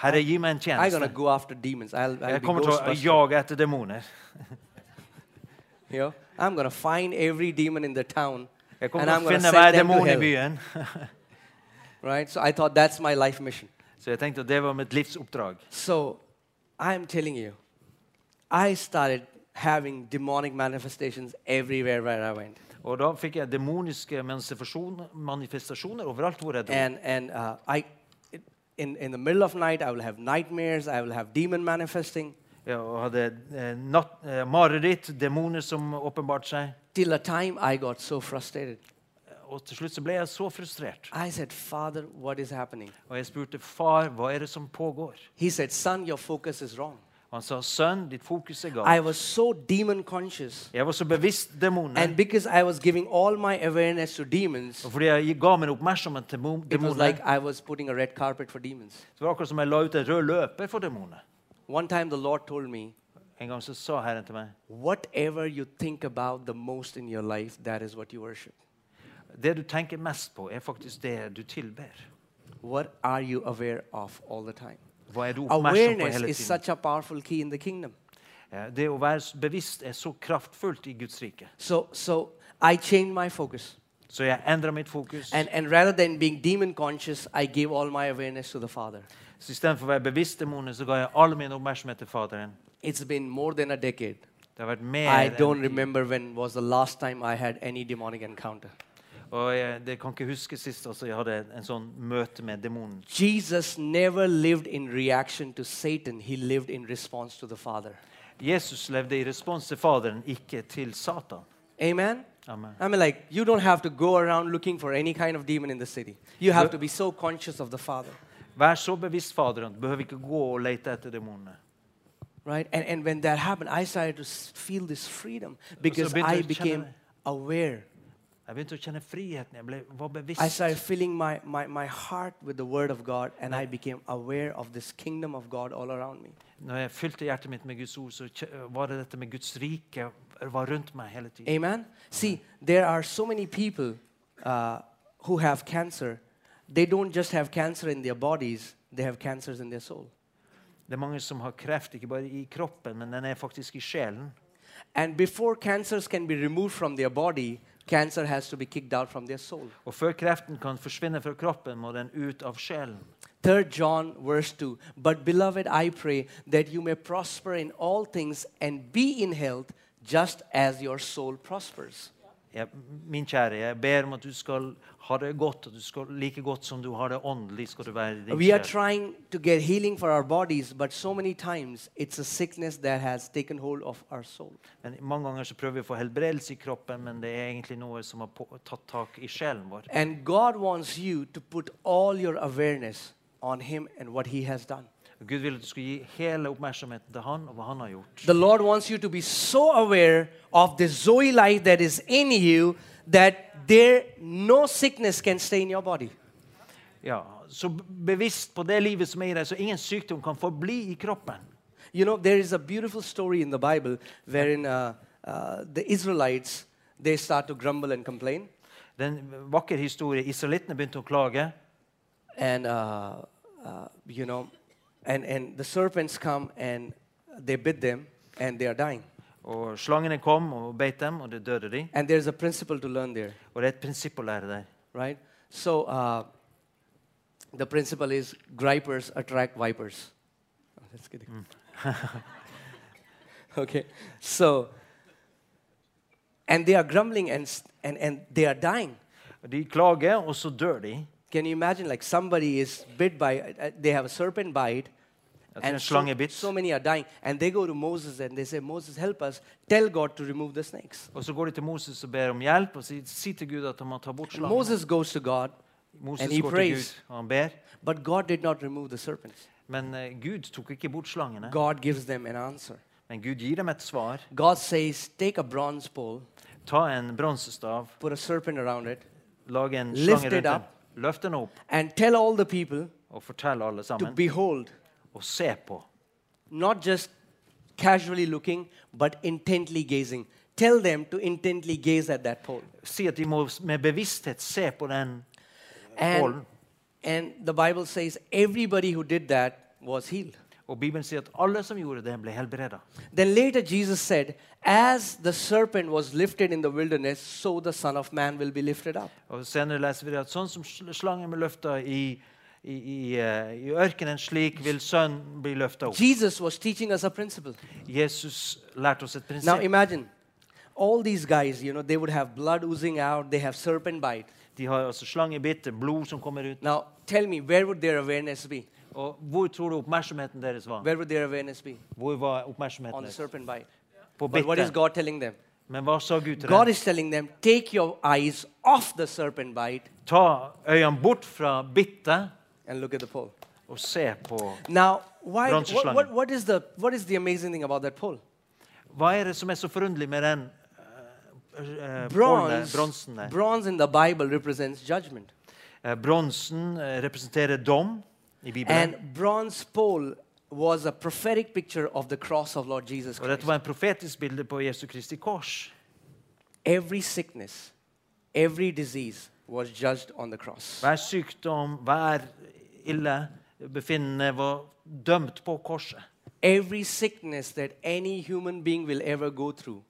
Speaker 2: Herre, gi meg en
Speaker 1: I'm gonna
Speaker 2: tjeneste.
Speaker 1: go after demons. I'll, I'll
Speaker 2: Jeg
Speaker 1: be
Speaker 2: kommer til å
Speaker 1: Ghostbuster.
Speaker 2: jage etter demoner.
Speaker 1: You know, I'm gonna find every demon in the town,
Speaker 2: Jeg
Speaker 1: and
Speaker 2: kommer
Speaker 1: I'm
Speaker 2: til å
Speaker 1: gonna
Speaker 2: finne hver
Speaker 1: send them to
Speaker 2: demon i
Speaker 1: hell.
Speaker 2: byen.
Speaker 1: Right? So I thought that's my life mission.
Speaker 2: Så jeg tenkte at det var mitt livsoppdrag.
Speaker 1: So I'm telling you, I started having demonic manifestations everywhere where I went,
Speaker 2: Og da fikk jeg demoniske manifestasjon- manifestasjoner overalt hvor jeg dro.
Speaker 1: and and uh, I. it- In, in the middle of night, I will have nightmares. I will have demon manifesting
Speaker 2: Ja, og hadde eh, natt, eh, mareritt, demoner som åpenbarte seg.
Speaker 1: till a time I got so frustrated.
Speaker 2: Og til slutt så ble jeg så frustrert.
Speaker 1: I said, Father, what is happening?
Speaker 2: Og jeg spurte far, hva er det som pågår?
Speaker 1: He said, Son, your focus is wrong.
Speaker 2: Og han sa, sønn, ditt fokus er galt.
Speaker 1: I was so demon conscious.
Speaker 2: Jeg var så bevisst demoner.
Speaker 1: And because I was giving all my awareness to demons,
Speaker 2: Og fordi jeg ga min oppmerksomhet til mo-
Speaker 1: it was
Speaker 2: demoner,
Speaker 1: like I was putting a red carpet for demons.
Speaker 2: så var det akkurat som jeg la ut en rød løper for demoner.
Speaker 1: One time the Lord told me,
Speaker 2: En gang så sa Herren til meg,
Speaker 1: Whatever you think about the most in your life, that is what you worship.
Speaker 2: det du tenker mest på er faktisk det du tilber.
Speaker 1: What are you aware of all the time?
Speaker 2: Hva er du oppmerksom på
Speaker 1: Awareness
Speaker 2: hele
Speaker 1: is
Speaker 2: tiden?
Speaker 1: such a powerful key in the kingdom.
Speaker 2: Ja, Det å være s- bevisst er så kraftfullt i Guds rike.
Speaker 1: So, so I changed my focus.
Speaker 2: Så jeg endret mitt fokus.
Speaker 1: And, and rather than being demon conscious, I gave all my awareness to the Father.
Speaker 2: Så istedenfor å være bevisst demoner, så ga jeg all min oppmerksomhet til Faderen.
Speaker 1: It's been more than a decade.
Speaker 2: Det har vært mer
Speaker 1: I
Speaker 2: enn-
Speaker 1: don't remember when was the last time I had any demonic encounter.
Speaker 2: Og jeg det kan ikke huske sist altså, jeg hadde en sånn møte med demonen.
Speaker 1: Jesus never lived in reaction to Satan, he lived in response to the Father.
Speaker 2: Jesus levde i respons til Faderen, ikke til Satan.
Speaker 1: Amen?
Speaker 2: Amen.
Speaker 1: I mean, like, you don't have to go around looking for any kind of demon in the city. You have to be so conscious of the Father,
Speaker 2: Vær så bevisst Faderen. Du behøver ikke gå og lete etter demonene.
Speaker 1: right? And, and when that happened, I started to s- feel this freedom because
Speaker 2: bit
Speaker 1: I
Speaker 2: of
Speaker 1: became
Speaker 2: channel.
Speaker 1: aware.
Speaker 2: Jeg begynte å kjenne friheten. Jeg ble, var
Speaker 1: I
Speaker 2: bevisst.
Speaker 1: started filling my, my, my heart with the Word of God, and I became aware of this kingdom of God all around me.
Speaker 2: Når jeg fylte hjertet mitt med Guds ord, så kje- var det dette med Guds rike var rundt meg hele tiden.
Speaker 1: Amen. See, there are so many people uh, who have cancer. They don't just have cancer in their bodies; they have cancers in their soul.
Speaker 2: Det er mange som har kreft, ikke bare i kroppen, men den er faktisk i sjelen.
Speaker 1: And before cancers can be removed from their body, cancer has to be kicked out from their soul.
Speaker 2: Og før kreften kan forsvinne fra kroppen, må den ut av sjelen.
Speaker 1: Third John verse two. But beloved, I pray that you may prosper in all things and be in health, just as your soul prospers.
Speaker 2: jeg, min kjære, jeg ber om at du skal ha det godt, og du skal like godt som du har det åndelig, skal du være i din
Speaker 1: We are
Speaker 2: sjel.
Speaker 1: trying to get healing for our bodies, but so many times it's a sickness that has taken hold of our soul.
Speaker 2: Men mange ganger så prøver vi å få helbredelse i kroppen, men det er egentlig noe som har på, tatt tak i sjelen vår.
Speaker 1: And God wants you to put all your awareness on Him and what He has done.
Speaker 2: Gud vil at du skal gi hele oppmerksomheten til han og hva han har gjort.
Speaker 1: The Lord wants you to be so aware of the Zoe life that is in you that there no sickness can stay in your body.
Speaker 2: Ja, Så bevisst på det livet som er i deg, så ingen sykdom kan forbli i kroppen.
Speaker 1: You know, there is a beautiful story in the Bible wherein uh, uh, the Israelites they start to grumble and complain,
Speaker 2: Det er en vakker historie. Israelittene begynte å klage.
Speaker 1: and uh, uh, you know, and and the serpents come and they bit them, and they are dying.
Speaker 2: Og slangene kom og beit dem, og det døde de.
Speaker 1: And there's a principle to learn there.
Speaker 2: Og det er et prinsipp å lære der.
Speaker 1: right? So uh, the principle is gripers attract vipers. Oh, that's kidding. okay, so and they are grumbling and, s- and and they are dying.
Speaker 2: De klager, og så dør de.
Speaker 1: Can you imagine? Like somebody is bit by uh, they have a serpent bite.
Speaker 2: That's a
Speaker 1: And
Speaker 2: slang
Speaker 1: so,
Speaker 2: a bit.
Speaker 1: so many are dying, and they go to Moses and they say, Moses, help us. Tell God to remove the snakes.
Speaker 2: Og så går de til Moses og ber om hjelp, og sier si til Gud at han må ta bort slangene.
Speaker 1: Moses goes to God,
Speaker 2: Moses
Speaker 1: and he
Speaker 2: går til Gud,
Speaker 1: prays.
Speaker 2: og han ber.
Speaker 1: but God did not remove the serpents.
Speaker 2: Men eh, Gud tok ikke bort slangene.
Speaker 1: God gives them an answer.
Speaker 2: Men Gud gir dem et svar.
Speaker 1: God says, take a bronze pole,
Speaker 2: Ta en bronsestav,
Speaker 1: put a serpent around it,
Speaker 2: lag en
Speaker 1: Lift
Speaker 2: slange
Speaker 1: it
Speaker 2: rundt den.
Speaker 1: up.
Speaker 2: Løft den opp
Speaker 1: and tell all the people
Speaker 2: og fortell alle
Speaker 1: to
Speaker 2: sammen.
Speaker 1: behold,
Speaker 2: Og se på.
Speaker 1: not just casually looking, but intently gazing. Tell them to intently gaze at that pole.
Speaker 2: Si at de må med bevissthet se på den
Speaker 1: And,
Speaker 2: Pole.
Speaker 1: and the Bible says everybody who did that was healed.
Speaker 2: Og Bibelen sier at alle som gjorde det, ble helbreda.
Speaker 1: Then later Jesus said, As the serpent was lifted in the wilderness, so the Son of Man will be lifted up.
Speaker 2: Og senere leser vi det at sånn som sl- slangen ble løfta i, i, i, eh, i ørkenen, slik vil sønnen bli løfta opp.
Speaker 1: Jesus was teaching us a principle.
Speaker 2: Jesus lærte oss et
Speaker 1: Now
Speaker 2: prinsipp.
Speaker 1: imagine, all these guys, you know, they would have blood oozing out, they have serpent bite.
Speaker 2: De har altså slangebitt, blod som kommer ut.
Speaker 1: Now tell me, where would their awareness be?
Speaker 2: Og hvor tror du oppmerksomheten deres var?
Speaker 1: Where would their awareness be?
Speaker 2: Hvor var
Speaker 1: On
Speaker 2: oppmerksomheten
Speaker 1: the
Speaker 2: deres?
Speaker 1: serpent bite.
Speaker 2: På
Speaker 1: But what is
Speaker 2: bittet.
Speaker 1: God telling them?
Speaker 2: Men hva sa Gud til
Speaker 1: God
Speaker 2: dem?
Speaker 1: is telling them, take your eyes off the serpent bite
Speaker 2: Ta øynene bort fra bittet
Speaker 1: and look at the pole.
Speaker 2: og se på
Speaker 1: Now, why,
Speaker 2: Bronze
Speaker 1: what,
Speaker 2: slangen.
Speaker 1: what, what, is the, what is the amazing thing about that pole?
Speaker 2: Hva er det som er så forunderlig med den eh, eh, bålen,
Speaker 1: Bronze,
Speaker 2: bronsen eh, der?
Speaker 1: bronze in the Bible represents judgment.
Speaker 2: Eh, Bronsen eh, representerer dom i Bibelen.
Speaker 1: And bronze pole was a prophetic picture of the cross of Lord Jesus
Speaker 2: Og
Speaker 1: Christ.
Speaker 2: dette var en profetisk bilde på Jesu Kristi kors.
Speaker 1: Every sickness, every disease was judged on the cross.
Speaker 2: Hver sykdom, hver illebefinnende var dømt på korset.
Speaker 1: Every sickness that any human being will ever go through,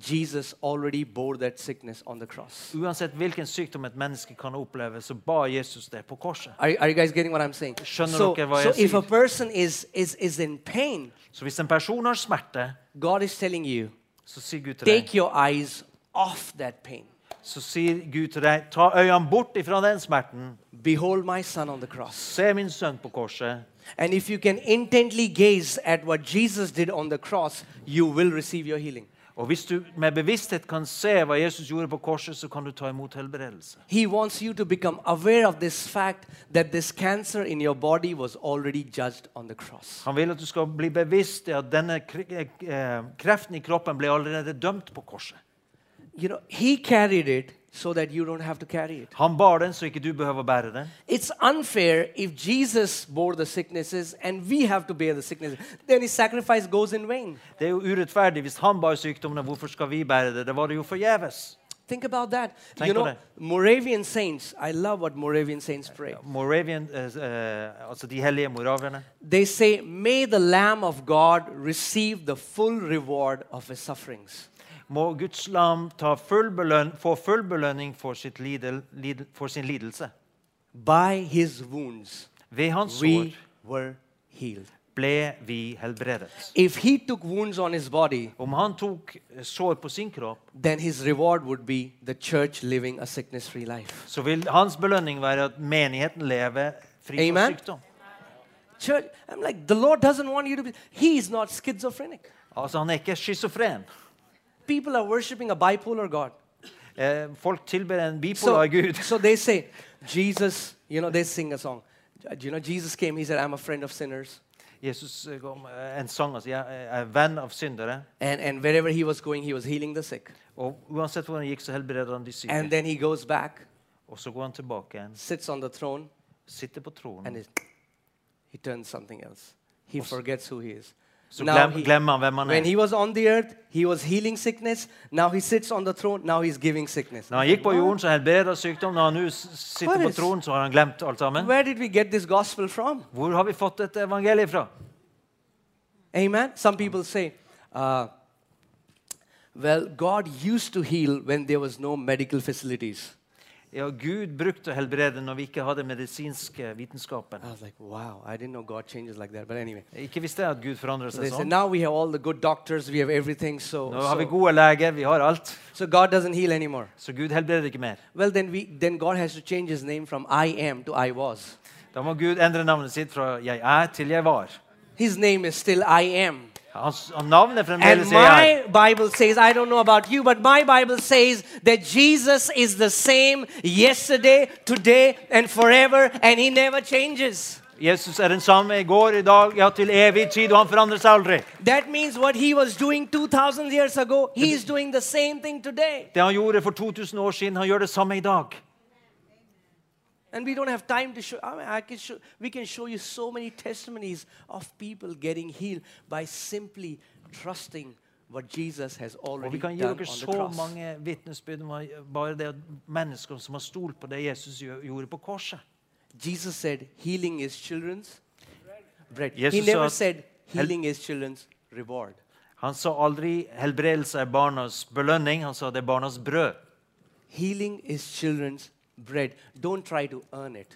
Speaker 1: Jesus already bore that sickness on the cross.
Speaker 2: Uansett hvilken sykdom et menneske kan oppleve, så ba Jesus det på korset.
Speaker 1: Are, are you guys getting what I'm saying? So,
Speaker 2: Skjønner
Speaker 1: so
Speaker 2: dere hva jeg
Speaker 1: if a
Speaker 2: sier?
Speaker 1: person is, is, is in pain,
Speaker 2: Så hvis en person har smerte,
Speaker 1: God is telling you,
Speaker 2: så sier Gud til deg,
Speaker 1: take your eyes off that pain.
Speaker 2: så sier Gud til deg ta øynene bort ifra den smerten.
Speaker 1: Behold my son on the cross.
Speaker 2: Se min sønn på korset.
Speaker 1: And if you can intently gaze at what Jesus did on the cross, you will receive your healing.
Speaker 2: Og hvis du med bevissthet kan se hva Jesus gjorde på korset, så kan du ta imot helbredelse.
Speaker 1: He wants you to become aware of this fact that this cancer in your body was already judged on the cross.
Speaker 2: Han vil at du skal bli bevisst i at denne kre- eh, kreften i kroppen ble allerede dømt på korset.
Speaker 1: You know, He carried it so that you don't have to carry it.
Speaker 2: Han bar den, så ikke du behøver å bære den.
Speaker 1: It's unfair if Jesus bore the sicknesses and we have to bear the sicknesses. Then His sacrifice goes in vain.
Speaker 2: Det er jo urettferdig. Hvis han bar sykdommene, hvorfor skal vi bære det? Det var det jo forgjeves.
Speaker 1: Think about that.
Speaker 2: Thank
Speaker 1: you
Speaker 2: you,
Speaker 1: know,
Speaker 2: Lord.
Speaker 1: Moravian saints, I love what Moravian saints pray.
Speaker 2: Moravian, eh, eh, altså de hellige moravierne,
Speaker 1: They say, May the Lamb of God receive the full reward of his sufferings.
Speaker 2: må Guds lam ta full belønn, få full belønning for, sitt lidel, lidel, for sin lidelse.
Speaker 1: By his wounds,
Speaker 2: Ved hans
Speaker 1: we
Speaker 2: sår
Speaker 1: were healed.
Speaker 2: ble vi helbredet.
Speaker 1: If he took wounds on his body,
Speaker 2: Om han tok eh, sår på sin kropp,
Speaker 1: then his reward would be the church living a sickness free life.
Speaker 2: så vil hans belønning være at menigheten lever fri
Speaker 1: Amen.
Speaker 2: for sykdom.
Speaker 1: Church, I'm like, the Lord doesn't want you to be. He is not schizophrenic.
Speaker 2: Altså, han er ikke schizofren.
Speaker 1: People are worshiping a bipolar God.
Speaker 2: Eh, folk tilber en
Speaker 1: So,
Speaker 2: bipolar gud.
Speaker 1: so they say, Jesus, you know, they sing a song. Uh, You know, Jesus came, he said, I'm a friend of sinners.
Speaker 2: Jesus eh, kom eh, en sang altså, jeg er venn av syndere.
Speaker 1: And, and wherever he was going, he was healing the sick.
Speaker 2: Og uansett hvor han gikk, så helbreder han de
Speaker 1: And
Speaker 2: syke.
Speaker 1: then he goes back,
Speaker 2: Og så går han tilbake igjen,
Speaker 1: sits on the throne,
Speaker 2: sitter på
Speaker 1: and
Speaker 2: tronen.
Speaker 1: it, he turns something else. He forgets who he is.
Speaker 2: Så glem,
Speaker 1: he-
Speaker 2: glemmer han hvem han
Speaker 1: when
Speaker 2: er.
Speaker 1: he was on the earth, he was healing sickness. Now he sits on the throne. Now he's giving sickness.
Speaker 2: Når han gikk på jorden, så helbreder han sykdom. Når han nå s- sitter
Speaker 1: What
Speaker 2: på
Speaker 1: is-
Speaker 2: tronen, så har han glemt alt sammen.
Speaker 1: Where did we get this gospel from?
Speaker 2: Hvor har vi fått dette evangeliet fra?
Speaker 1: Amen. Some people say, uh, well, God used to heal when there was no medical facilities.
Speaker 2: Ja, Gud brukte å helbrede når vi ikke hadde medisinske vitenskapen.
Speaker 1: I was like, wow, I didn't know God changes like that. But anyway,
Speaker 2: Ikke visste jeg at Gud forandrer
Speaker 1: so they
Speaker 2: seg
Speaker 1: say
Speaker 2: sånn.
Speaker 1: now we have all the good doctors, we have everything, so
Speaker 2: Nå har vi
Speaker 1: so,
Speaker 2: gode leger, vi har alt.
Speaker 1: so God doesn't heal anymore.
Speaker 2: Så Gud helbreder ikke mer.
Speaker 1: Well, then we then God has to change His name from I am to I was.
Speaker 2: Da må Gud endre navnet sitt fra 'jeg er' til 'jeg var'.
Speaker 1: His name is still I am.
Speaker 2: Hans, han navnet
Speaker 1: And
Speaker 2: fremdeles er 'jeg er'.
Speaker 1: my Bible says, I don't know about you, but my Bible says that Jesus is the same yesterday, today, and forever, and He never changes.
Speaker 2: Jesus er den samme i går, i dag, ja, til evig tid, og han forandrer seg aldri.
Speaker 1: That means what He was doing 2,000 years ago, He is doing the same thing today.
Speaker 2: Det han gjorde for 2000 år siden, han gjør det samme i dag.
Speaker 1: And we don't have time to show. I mean, I can show. We can show you so many testimonies of people getting healed by simply trusting what Jesus has
Speaker 2: Og
Speaker 1: already
Speaker 2: vi kan
Speaker 1: done
Speaker 2: gi
Speaker 1: on
Speaker 2: dere
Speaker 1: the
Speaker 2: så
Speaker 1: cross.
Speaker 2: mange vitnesbyrd om hva- bare det at mennesker som har stolt på det Jesus gjø- gjorde på korset.
Speaker 1: Jesus said, "Healing is children's bread." he
Speaker 2: Jesus
Speaker 1: never
Speaker 2: sa-
Speaker 1: said, "Healing is children's reward."
Speaker 2: Han sa aldri 'helbredelse er barnas belønning', han sa 'det er barnas brød'.
Speaker 1: Healing is children's bread. Don't try to earn it.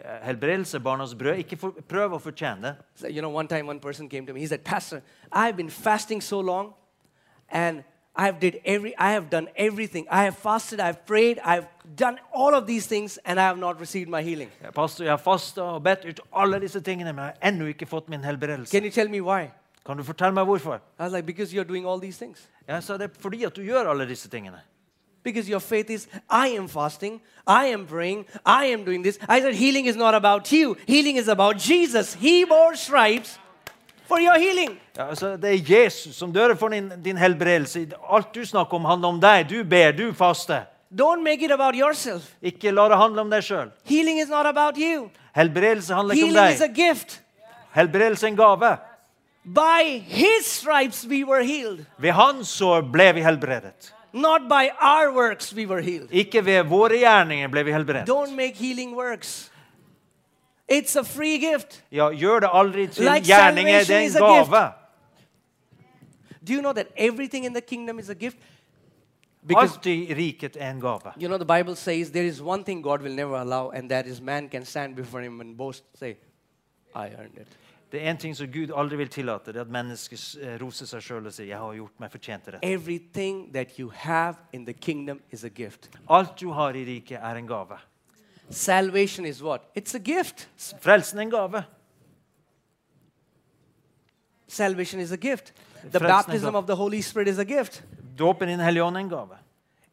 Speaker 2: Eh, Helbredelse er barnas brød. Ikke for, prøv å fortjene det.
Speaker 1: So, you know, one time one person came to me. He said, "Pastor, I've been fasting so long, and I've did every, I have done everything. I have fasted, I've prayed, I've done all of these things, and I have not received my healing.
Speaker 2: Pastor, jeg har fasta og bedt ut alle disse tingene, men jeg har ennå ikke fått min helbredelse.
Speaker 1: Can you tell me why?"
Speaker 2: Kan du fortelle meg hvorfor?
Speaker 1: I was like, "Because you're doing all these things."
Speaker 2: Jeg sa det er fordi at du gjør alle disse tingene.
Speaker 1: Because your faith is, I am fasting, I am praying, I am doing this. I said, healing is not about you, healing is about Jesus. He bore stripes for your healing.
Speaker 2: Ja, altså, det er Jesus som dør for din, din helbredelse. Alt du snakker om, handler om deg. Du ber, du faster.
Speaker 1: Don't make it about yourself.
Speaker 2: Ikke la det handle om deg sjøl.
Speaker 1: Healing is not about you,
Speaker 2: Helbredelse handler ikke om
Speaker 1: healing is a
Speaker 2: deg.
Speaker 1: gift.
Speaker 2: Helbredelse er en gave.
Speaker 1: By His stripes we were healed,
Speaker 2: Ved hans sår ble vi helbredet.
Speaker 1: not by our works we were healed.
Speaker 2: Ikke ved våre gjerninger ble vi helbredet.
Speaker 1: Don't make healing works. It's a free gift.
Speaker 2: Ja, gjør det aldri til
Speaker 1: Like
Speaker 2: gjerninger. Det
Speaker 1: salvation
Speaker 2: er
Speaker 1: is
Speaker 2: en
Speaker 1: a
Speaker 2: gave.
Speaker 1: Do you know that everything in the kingdom is a gift? Because
Speaker 2: Alt i riket er en gave.
Speaker 1: You know, the Bible says there is one thing God will never allow, and that is man can stand before him and boast, say, I earned it.
Speaker 2: Det er én ting som Gud aldri vil tillate, det er at mennesker eh, roser seg sjøl og sier 'Jeg har gjort meg fortjent til dette'.
Speaker 1: Everything that you have in the kingdom is a gift.
Speaker 2: Alt du har i riket, er en gave.
Speaker 1: Salvation is what? It's a gift.
Speaker 2: S- Frelsen er en gave.
Speaker 1: Salvation is a gift. The
Speaker 2: Frälsning
Speaker 1: baptism
Speaker 2: då?
Speaker 1: of the Holy Spirit is a gift.
Speaker 2: Dåpen i Den hellige ånd er en gave.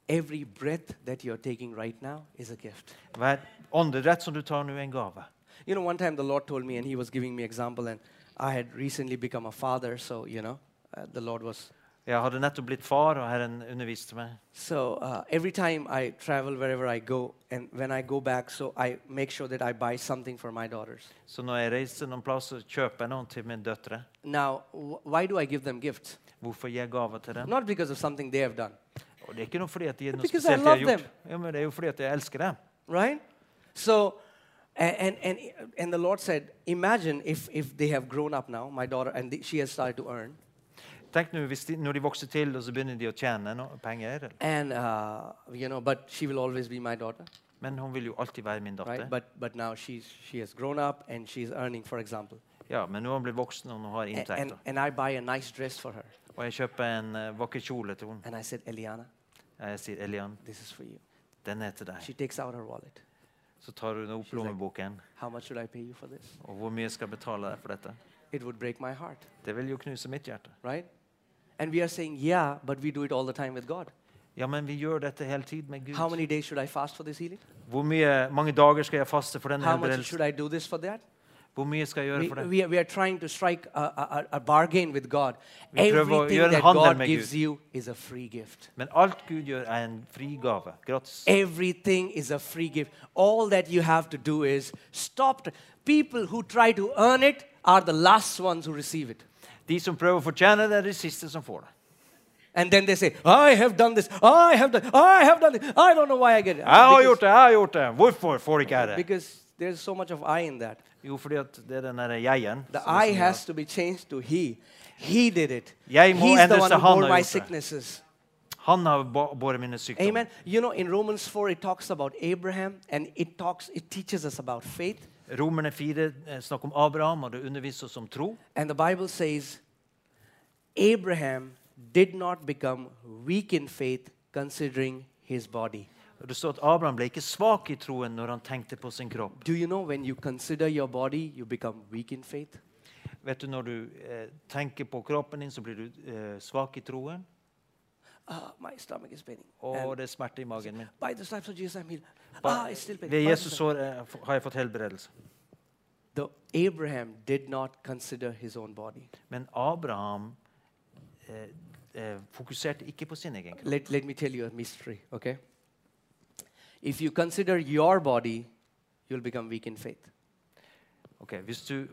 Speaker 1: Every breath that you're taking right now is a gift.
Speaker 2: Hver åndedrett som du tar nå, er en gave.
Speaker 1: You know, one time the Lord told me, and He was giving me example, and I had recently become a father, so, you know, uh, the Lord was
Speaker 2: Jeg hadde nettopp blitt far, og Herren underviste meg.
Speaker 1: So uh, every time I travel wherever I go, and when I go back, so I make sure that I buy something for my daughters.
Speaker 2: Så når jeg reiser noen plass, så kjøper jeg noen til mine døtre.
Speaker 1: Now, wh- why do I give them gifts?
Speaker 2: Hvorfor gir jeg gaver til dem?
Speaker 1: Not because of something they have done,
Speaker 2: Og det er ikke noe fordi at de er noe
Speaker 1: Because I
Speaker 2: spesielt de
Speaker 1: love
Speaker 2: har gjort. Ja, men det er jo fordi at jeg elsker dem.
Speaker 1: right? So, a- and and and the Lord said, imagine if if they have grown up now, my daughter, and the- she has started to earn,
Speaker 2: Tenk nå hvis de, når de vokser til, og så begynner de å tjene no penger. eller-
Speaker 1: and uh, you know, but she will always be my daughter,
Speaker 2: Men hun vil jo alltid være min datter.
Speaker 1: right? But but now she's she has grown up and she's earning, for example.
Speaker 2: Ja, men nå har hun blitt voksen, og hun har
Speaker 1: A- And,
Speaker 2: inntekter.
Speaker 1: and I buy a nice dress for her.
Speaker 2: Og jeg kjøper en eh, vakker kjole til henne.
Speaker 1: And I said, Eliana,
Speaker 2: Jeg sier, Elian,
Speaker 1: this is for you.
Speaker 2: den er til deg.
Speaker 1: She takes out her wallet.
Speaker 2: Så tar hun opp lommeboken.
Speaker 1: How much should I pay you for this?
Speaker 2: Og hvor mye skal jeg betale deg for dette?
Speaker 1: It would break my heart,
Speaker 2: Det vil jo knuse mitt hjerte.
Speaker 1: right? And we are saying, yeah, but we do it all the time with God.
Speaker 2: Ja, men vi gjør dette hele tiden med
Speaker 1: How
Speaker 2: Gud.
Speaker 1: many days should I fast for this healing?
Speaker 2: Hvor mye, mange dager skal jeg faste for denne
Speaker 1: How much
Speaker 2: helbredelsen?
Speaker 1: should I do this for that?
Speaker 2: Hvor mye skal jeg gjøre
Speaker 1: We,
Speaker 2: for det?
Speaker 1: we, are, we are trying to strike a, a, a a bargain with God.
Speaker 2: Vi prøver å
Speaker 1: Everything
Speaker 2: gjøre en
Speaker 1: that
Speaker 2: handel
Speaker 1: God
Speaker 2: med
Speaker 1: gives
Speaker 2: Gud.
Speaker 1: you is a free gift.
Speaker 2: Men alt Gud gjør, er en frigave. Gratis.
Speaker 1: Everything is a free gift. All that you have to do is stop. t- People who try to earn it are the last ones who receive it.
Speaker 2: De som prøver å fortjene det, er de siste som får det.
Speaker 1: And then they say, I have done this, I have done, I have done this. I don't know why I get it.
Speaker 2: Jeg har gjort det, jeg har gjort det. Hvorfor får ikke jeg det?
Speaker 1: Because there's so much of I in that.
Speaker 2: Jo, fordi at det er den derre jeg-en.
Speaker 1: The
Speaker 2: som er
Speaker 1: I
Speaker 2: så mye
Speaker 1: has to be changed to he. He did it.
Speaker 2: Jeg må
Speaker 1: He's the
Speaker 2: endres
Speaker 1: one
Speaker 2: til
Speaker 1: who
Speaker 2: han
Speaker 1: bore
Speaker 2: har
Speaker 1: my
Speaker 2: gjort det.
Speaker 1: sicknesses.
Speaker 2: av- Han har ba- båret mine sykdommer.
Speaker 1: Amen. You know, in Romans 4, it talks about Abraham and it talks, it teaches us about faith.
Speaker 2: Romerne 4 eh, snakker om Abraham, og det underviser oss om tro.
Speaker 1: And the Bible says, Abraham did not become weak in faith considering his body.
Speaker 2: Og Det står at Abraham ble ikke svak i troen når han tenkte på sin kropp.
Speaker 1: Do you know when you consider your body, you become weak in faith?
Speaker 2: Vet du, Når du eh, tenker på kroppen din, så blir du eh, svak i troen.
Speaker 1: Ah, my stomach is paining.
Speaker 2: Og
Speaker 1: And
Speaker 2: det er smerte i magen min.
Speaker 1: by the stripes of Jesus, I'm healed. Ah,
Speaker 2: Ba-
Speaker 1: it's still paining.
Speaker 2: Ved
Speaker 1: By the
Speaker 2: Jesus
Speaker 1: stripes-
Speaker 2: sår eh, f- har jeg fått helbredelse.
Speaker 1: The Abraham did not consider his own body.
Speaker 2: Men Abraham eh, eh, fokuserte ikke på sin egen kropp.
Speaker 1: Let, let me tell you a mystery, okay? If you consider your body, you'll become weak in faith.
Speaker 2: Ok, Hvis du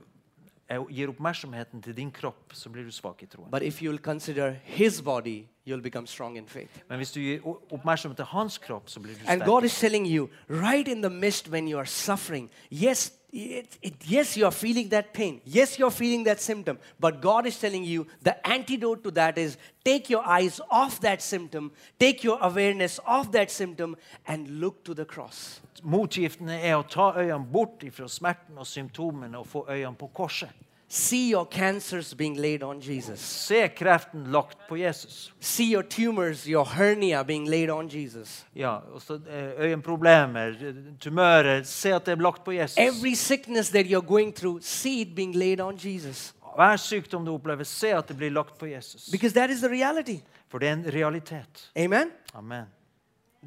Speaker 2: eh, gir oppmerksomheten til din kropp, så blir du svak i troen.
Speaker 1: But if you'll consider his body, you'll become strong in faith.
Speaker 2: Men hvis du gir o- oppmerksomhet til hans kropp, så blir du
Speaker 1: And God
Speaker 2: sterk.
Speaker 1: is telling you, right in the midst when you are suffering, yes, it, it, yes, you are feeling that pain. Yes, you are feeling that symptom. But God is telling you the antidote to that is take your eyes off that symptom, take your awareness off that symptom, and look to the cross.
Speaker 2: Motgiften er å ta øynene bort fra smerten og symptomene og få øynene på korset.
Speaker 1: See your cancers being laid on Jesus.
Speaker 2: Se kreften lagt på Jesus.
Speaker 1: See your tumors, your hernia being laid on Jesus.
Speaker 2: Ja, og så eh, Øyenproblemer, eh, tumører Se at det er lagt på Jesus.
Speaker 1: Every sickness that you're going through, see it being laid on Jesus.
Speaker 2: Hver sykdom du opplever, se at det blir lagt på Jesus.
Speaker 1: Because that is the reality.
Speaker 2: For det er en realitet.
Speaker 1: Amen?
Speaker 2: Amen.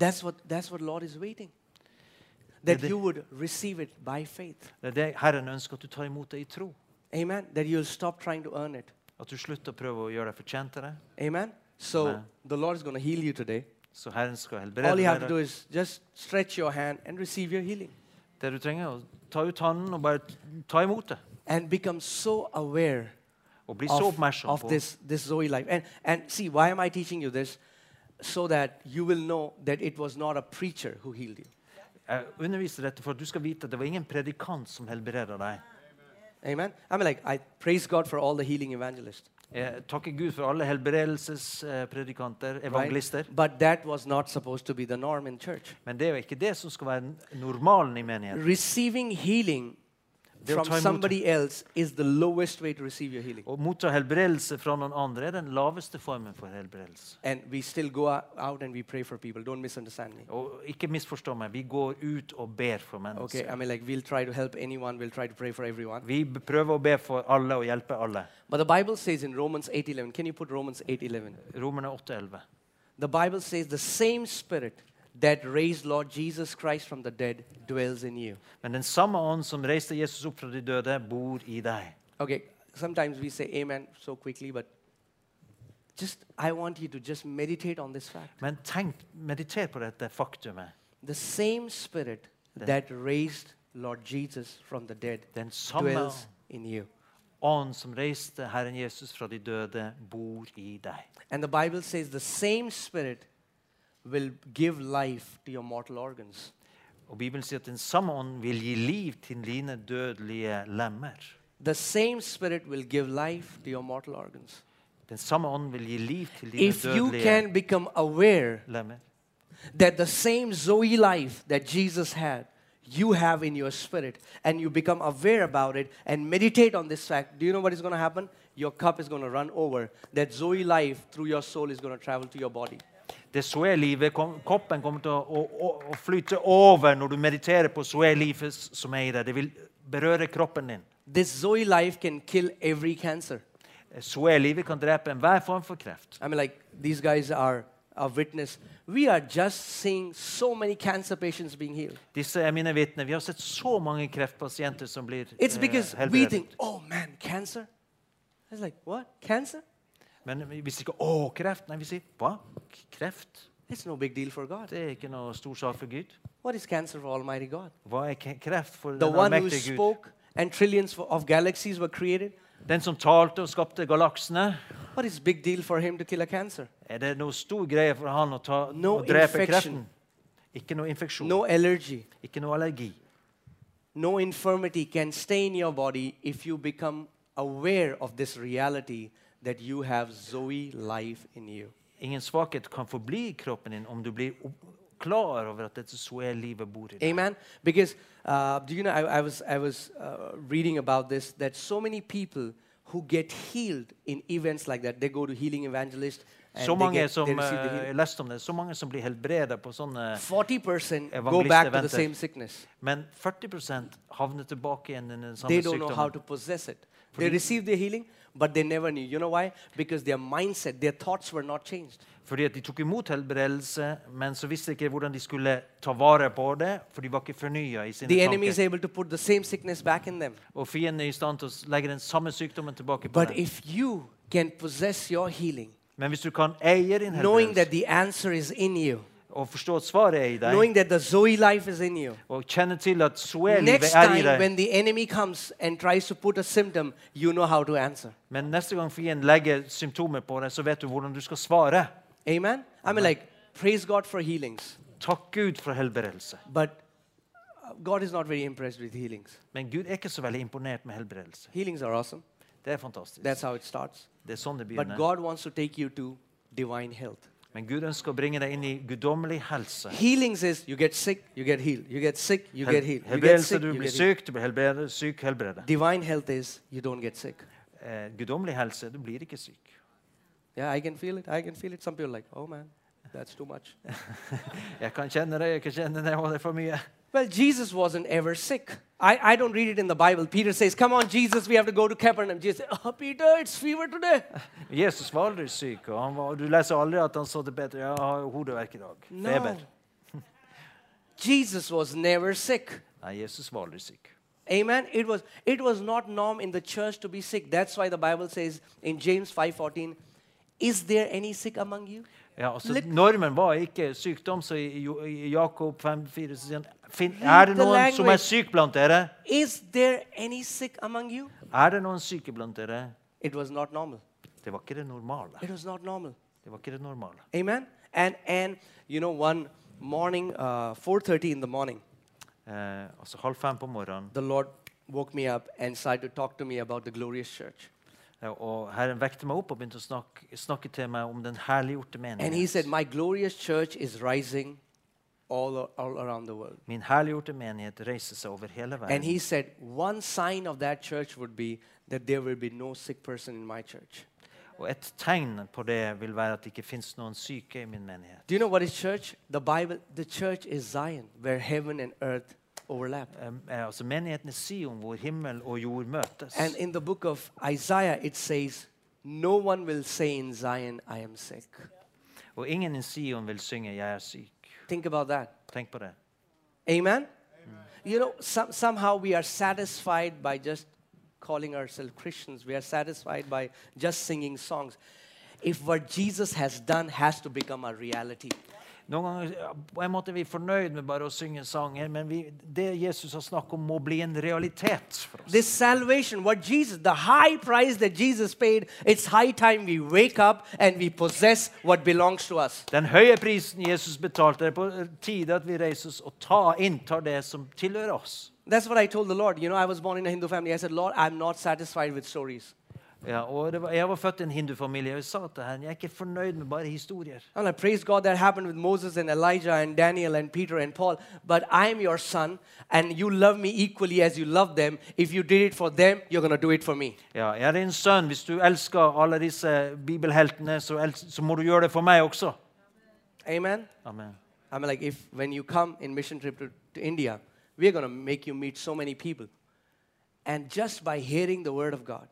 Speaker 1: That's what that's what Lord is waiting. That
Speaker 2: the-
Speaker 1: you would receive it by faith.
Speaker 2: Det er det Herren ønsker at du tar imot det i tro.
Speaker 1: Amen. That you'll stop trying to earn it.
Speaker 2: At du slutter å prøve å gjøre deg fortjent til det.
Speaker 1: Amen. So
Speaker 2: Amen.
Speaker 1: the Lord is going to heal you today.
Speaker 2: Så Herren skal helbrede
Speaker 1: All you have to do
Speaker 2: deg.
Speaker 1: is just stretch your hand and receive your healing
Speaker 2: Det du trenger, er å ta ut hånden og bare ta imot det.
Speaker 1: and become so aware
Speaker 2: Og bli så
Speaker 1: of,
Speaker 2: oppmerksom
Speaker 1: of
Speaker 2: på
Speaker 1: this this Zoe life. And and see why am I teaching you this so that you will know that it was not a preacher who healed you.
Speaker 2: Jeg underviser dette for at du skal vite at det var ingen predikant som helbreder deg.
Speaker 1: Amen. I mean like I praise God for all the healing evangelists.
Speaker 2: Jeg takker Gud for alle helbredelsespredikanter,
Speaker 1: right?
Speaker 2: evangelister.
Speaker 1: But that was not supposed to be the norm in church.
Speaker 2: Men det er jo ikke det som skal være n- normalen i menigheten.
Speaker 1: receiving healing
Speaker 2: They'll
Speaker 1: from
Speaker 2: try and
Speaker 1: somebody else is the lowest way to receive your healing.
Speaker 2: Å motta helbredelse fra noen andre er den laveste formen for helbredelse.
Speaker 1: And we still go o- out and we pray for people. Don't misunderstand me.
Speaker 2: Og ikke misforstå meg, vi går ut og ber for
Speaker 1: Okay,
Speaker 2: mennesker.
Speaker 1: I mean, like, we'll try to help anyone, we'll try to pray for everyone.
Speaker 2: Vi b- prøver å be for alle og hjelpe alle.
Speaker 1: But the Bible says in Romans 8 11, can you put Romans 8 11?
Speaker 2: Romerne 8,11.
Speaker 1: The Bible says the same spirit that raised Lord Jesus Christ from the dead dwells in you.
Speaker 2: Men den samme ånd som reiste Jesus opp fra de døde, bor i deg.
Speaker 1: Okay, sometimes we say amen so quickly, but just, I want you to just meditate on this fact.
Speaker 2: Men tenk, mediter på dette faktumet.
Speaker 1: The same spirit
Speaker 2: Then-
Speaker 1: that raised Lord Jesus from the dead
Speaker 2: Den samme
Speaker 1: dwells in you.
Speaker 2: ånd som reiste Herren Jesus fra de døde, bor i deg.
Speaker 1: And the Bible says the same spirit will give life to your mortal organs.
Speaker 2: Og Bibelen sier at den samme ånd vil gi liv til dine dødelige lemmer.
Speaker 1: The same spirit will give life to your mortal organs.
Speaker 2: Den samme ånd vil gi liv til dine
Speaker 1: If you
Speaker 2: dødelige
Speaker 1: can become aware
Speaker 2: lemmer.
Speaker 1: that the same Zoe life that Jesus had, you have in your spirit and you become aware about it and meditate on this fact, do you know what is going to happen? Your cup is going to run over. That Zoe life through your soul is going to travel to your body.
Speaker 2: Det Zoe-livet, kom- Kroppen kommer til å, å, å, å flyte over når du mediterer på Zoe-livet s- som er i deg. Det vil berøre kroppen din.
Speaker 1: This Zoe life can kill every cancer.
Speaker 2: Zoe-livet kan drepe enhver form for kreft.
Speaker 1: I mean, like, these guys are a witness. We are just seeing so many cancer patients being healed.
Speaker 2: Disse er mine vitner. Vi har sett så mange kreftpasienter som blir
Speaker 1: It's
Speaker 2: eh,
Speaker 1: because we
Speaker 2: helbredet.
Speaker 1: think, oh man, cancer? It's like, what? Cancer?
Speaker 2: Men vi sier ikke 'Å, kreft'. Nei, vi sier 'Hva? K- Kreft?
Speaker 1: It's no big deal for God.
Speaker 2: Det er ikke noe stor sak for Gud.
Speaker 1: What is cancer for Almighty God?
Speaker 2: Hva er k- kreft for
Speaker 1: The
Speaker 2: den
Speaker 1: one who
Speaker 2: allmektige Gud?
Speaker 1: spoke and trillions for- of galaxies were created.
Speaker 2: Den som talte og skapte galaksene.
Speaker 1: What is big deal for him to kill a cancer?
Speaker 2: Er det noe stor greie for han å, ta,
Speaker 1: No
Speaker 2: å drepe
Speaker 1: infection.
Speaker 2: kreften? Ikke noe infeksjon,
Speaker 1: No allergy,
Speaker 2: ikke noe allergi.
Speaker 1: no infirmity can stay in your body if you become aware of this reality that you have Zoe life in you.
Speaker 2: Ingen svakhet kan forbli i kroppen din om du blir opp- klar over at dette soe-livet bor i deg.
Speaker 1: Amen. Because uh, do you know? I, I was I was uh, reading about this that so many people who get healed in events like that they go to healing evangelist and
Speaker 2: Så
Speaker 1: they
Speaker 2: mange
Speaker 1: get,
Speaker 2: som,
Speaker 1: they receive the
Speaker 2: eh, jeg
Speaker 1: healing.
Speaker 2: leste om det, så mange som blir helbreda på sånne
Speaker 1: Forty percent go
Speaker 2: Evangelist
Speaker 1: back to the
Speaker 2: eventer.
Speaker 1: same sickness.
Speaker 2: Men 40 havner tilbake igjen i den
Speaker 1: They
Speaker 2: samme
Speaker 1: don't know how
Speaker 2: sykdommen.
Speaker 1: to possess it. They receive the healing, but they never knew. You know why? Because their mindset, their thoughts were not changed.
Speaker 2: Fordi at De tok imot helbredelse, men så visste de ikke hvordan de skulle ta vare på det. For de var ikke fornya i sine
Speaker 1: The enemy is
Speaker 2: tanker.
Speaker 1: able to put the same sickness back in them.
Speaker 2: Og fienden er i stand til å legge den samme sykdommen tilbake på
Speaker 1: But
Speaker 2: dem.
Speaker 1: if you can possess your healing,
Speaker 2: Men hvis du kan eie din
Speaker 1: knowing that
Speaker 2: helbredelse
Speaker 1: the answer is in you,
Speaker 2: og forstå at svaret er i deg,
Speaker 1: knowing that the Zoe life is in you,
Speaker 2: og kjenne til at
Speaker 1: Next
Speaker 2: Zoe-livet er i
Speaker 1: time,
Speaker 2: deg
Speaker 1: when the enemy comes and tries to put a symptom, you know how to answer.
Speaker 2: Men neste gang fienden legger symptomer på deg, så vet du hvordan du skal svare.
Speaker 1: Amen? I mean, like, praise God for healings,
Speaker 2: Takk Gud for helbredelse.
Speaker 1: but uh, God is not very impressed with healings.
Speaker 2: Men Gud er ikke så veldig imponert med helbredelse.
Speaker 1: Healings are awesome,
Speaker 2: Det er fantastisk.
Speaker 1: that's how it starts.
Speaker 2: Det er sånn det
Speaker 1: But
Speaker 2: begynner.
Speaker 1: God wants to take you to divine health.
Speaker 2: Men Gud ønsker å bringe deg inn i guddommelig helse.
Speaker 1: Healings is you get sick, you get healed. You get sick, you
Speaker 2: Hel-
Speaker 1: get healed. You get
Speaker 2: Helbredelse,
Speaker 1: sick,
Speaker 2: du
Speaker 1: you
Speaker 2: blir
Speaker 1: get healed.
Speaker 2: syk, du blir helbredet, syk, helbredet.
Speaker 1: Divine health is you don't get sick.
Speaker 2: Eh, guddommelig helse, du blir ikke syk.
Speaker 1: Yeah, I can feel it. I can feel it. Some people are like, oh man, that's too much.
Speaker 2: Jeg kan kjenne det, jeg kan kjenne det, og det er for mye.
Speaker 1: Well, Jesus wasn't ever sick. I, I don't read it in the Bible. Peter says, Come on, Jesus, we have to go to Capernaum. Jesus said, Oh, Peter, it's fever today.
Speaker 2: Jesus var aldri syk, og han var, du leser aldri at han så det bedre. Jeg har hodeverk i dag.
Speaker 1: No.
Speaker 2: Feber.
Speaker 1: Jesus was never sick.
Speaker 2: Nei, Jesus var aldri syk.
Speaker 1: Amen. It was it was not norm in the church to be sick. That's why the Bible says in James 5:14, is there any sick among you?
Speaker 2: Ja, altså,
Speaker 1: Litt-
Speaker 2: normen var ikke sykdom, så i, Jo- i Jakob 5,4 så sier han «Finn- Er det
Speaker 1: the
Speaker 2: noen som er
Speaker 1: language.
Speaker 2: syk blant dere?
Speaker 1: Is there any sick among you?
Speaker 2: Er det noen syke blant dere?
Speaker 1: It was not normal.
Speaker 2: Det var ikke det normale.
Speaker 1: It was not normal.
Speaker 2: Det var ikke det normale.
Speaker 1: Amen. And and you know, one morning, uh, 4:30 in the morning,
Speaker 2: Eh, altså halv fem på morgenen,
Speaker 1: the Lord woke me up and started to talk to me about the glorious church.
Speaker 2: ja, eh, og Herren vekte meg opp og begynte å snakke, snakke til meg om den herliggjorte
Speaker 1: And He said,
Speaker 2: menighet.
Speaker 1: My glorious church is rising all, all around the world.
Speaker 2: Min herliggjorte menighet reiser seg over hele
Speaker 1: And
Speaker 2: verden.
Speaker 1: He said, One sign of that church would be that there will be no sick person in my church.
Speaker 2: Og et tegn på det vil være at det ikke fins noen syke i min menighet.
Speaker 1: Do you know what is church? The Bible, the church is Zion, where heaven and earth overlap.
Speaker 2: Em, eh, altså Menigheten i Sion, hvor himmel og jord møtes.
Speaker 1: And in the book of Isaiah, it says, No one will say in Zion, I am sick.
Speaker 2: Og ingen i Sion vil synge 'Jeg er syk'.
Speaker 1: Think about that.
Speaker 2: Tenk på det.
Speaker 1: Amen? You know, some, somehow we are satisfied by just calling ourselves Christians. We are satisfied by just singing songs. If what Jesus has done has to become a reality.
Speaker 2: Noen ganger ja, på en måte er vi fornøyd med bare å synge sanger, men vi, det Jesus har snakket om, må bli en realitet for oss.
Speaker 1: This salvation, what Jesus, the high price that Jesus paid, it's high time we wake up and we possess what belongs to us.
Speaker 2: Den høye prisen Jesus betalte, det er på tide at vi reiser oss og tar, inntar det som tilhører oss.
Speaker 1: That's what I told the Lord. You know, I was born in a Hindu family. I said, Lord, I'm not satisfied with stories.
Speaker 2: Ja, og det var, jeg var født i en hindufamilie. og Jeg sa til henne jeg er ikke fornøyd med bare historier.
Speaker 1: And I praise God that happened with Moses and Elijah and Daniel and Peter and Paul. But I'm your son, and you love me equally as you love them. If you did it for them, you're going to do it for me.
Speaker 2: Ja, jeg er din sønn. Hvis du elsker alle disse bibelheltene, så, els- så må du gjøre det for meg også.
Speaker 1: Amen.
Speaker 2: Amen.
Speaker 1: I'm like, if when you come in mission trip to, to India, we're going to make you meet so many people. And just by hearing the word of God,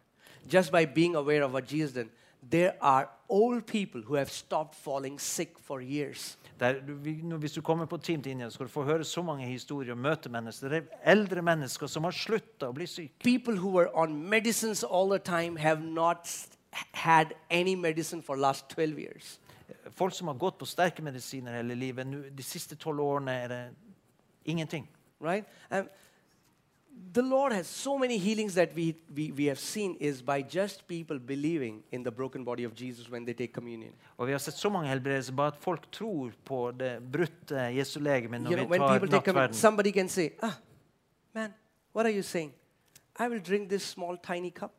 Speaker 1: just by being aware of what Jesus did, there are old people who have stopped falling sick for years.
Speaker 2: Der, du- vi- nå, hvis du kommer på Team til India, så skal du få høre så mange historier og møte mennesker. Det er eldre mennesker som har slutta å bli syke.
Speaker 1: People who were on medicines all the time have not s- had any medicine for last 12 years.
Speaker 2: Folk som har gått på sterke medisiner hele livet, nå- de siste tolv årene er det ingenting.
Speaker 1: right? And the Lord has so many healings that we, we, we have seen is by just people believing in the broken body of Jesus when they take communion.
Speaker 2: Og vi har sett så mange helbredelser bare at folk tror på det brutte Jesu legeme når
Speaker 1: you know,
Speaker 2: vi
Speaker 1: when
Speaker 2: tar
Speaker 1: people take communion,
Speaker 2: nattverden.
Speaker 1: somebody can say, ah, man, what are you saying? I will drink this small, tiny cup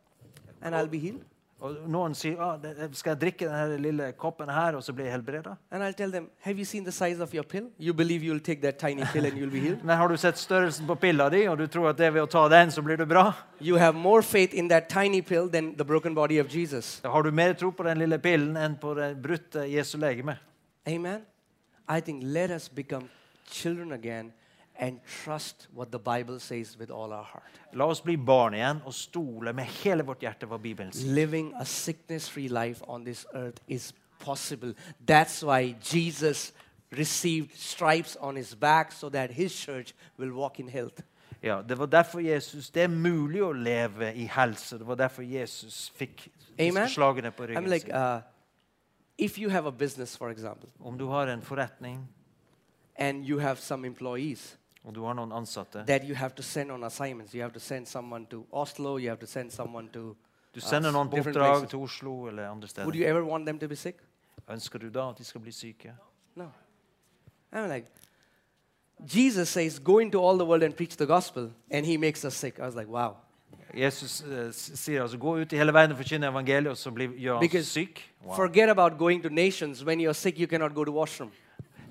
Speaker 1: and I'll be healed.
Speaker 2: Og noen sier ah, det- skal jeg drikke denne lille koppen her, og så blir jeg helbreda.
Speaker 1: And I'll tell them, have you seen the size of your pill? You believe you'll take that tiny pill and you'll be healed?
Speaker 2: Men har du sett størrelsen på pilla di, og du tror at det er ved å ta den, så blir du bra?
Speaker 1: You have more faith in that tiny pill than the broken body of Jesus.
Speaker 2: Da har du mer tro på den lille pillen enn på det brutte Jesu legeme.
Speaker 1: Amen. I think let us become children again and trust what the Bible says with all our heart.
Speaker 2: La oss bli barn igjen og stole med hele vårt hjerte hva Bibelen sier.
Speaker 1: Living a sickness free life on this earth is possible. That's why Jesus received stripes on his back so that his church will walk in health.
Speaker 2: Ja, det var derfor Jesus Det er mulig å leve i helse. Det var derfor Jesus fikk disse
Speaker 1: Amen.
Speaker 2: slagene på
Speaker 1: I'm
Speaker 2: ryggen
Speaker 1: like,
Speaker 2: sin.
Speaker 1: uh, if you have a business, for example,
Speaker 2: Om du har en forretning,
Speaker 1: and you have some employees
Speaker 2: og du har noen ansatte
Speaker 1: that you have to send on assignments, you have to send someone to Oslo, you have to send someone to
Speaker 2: Du
Speaker 1: uh,
Speaker 2: sender noen på
Speaker 1: different
Speaker 2: oppdrag
Speaker 1: places.
Speaker 2: til Oslo eller andre
Speaker 1: Would
Speaker 2: steder.
Speaker 1: you ever want them to be sick?
Speaker 2: Ønsker du da at de skal bli syke?
Speaker 1: No. I'm like, Jesus says, go into all the world and preach the gospel, and he makes us sick. I was like, wow.
Speaker 2: Jesus eh, s- sier altså 'gå ut i hele verden og forkynne evangeliet', og så blir, gjør han
Speaker 1: Because
Speaker 2: oss syk. Wow.
Speaker 1: Forget about going to nations. When you're sick, you cannot go to washroom.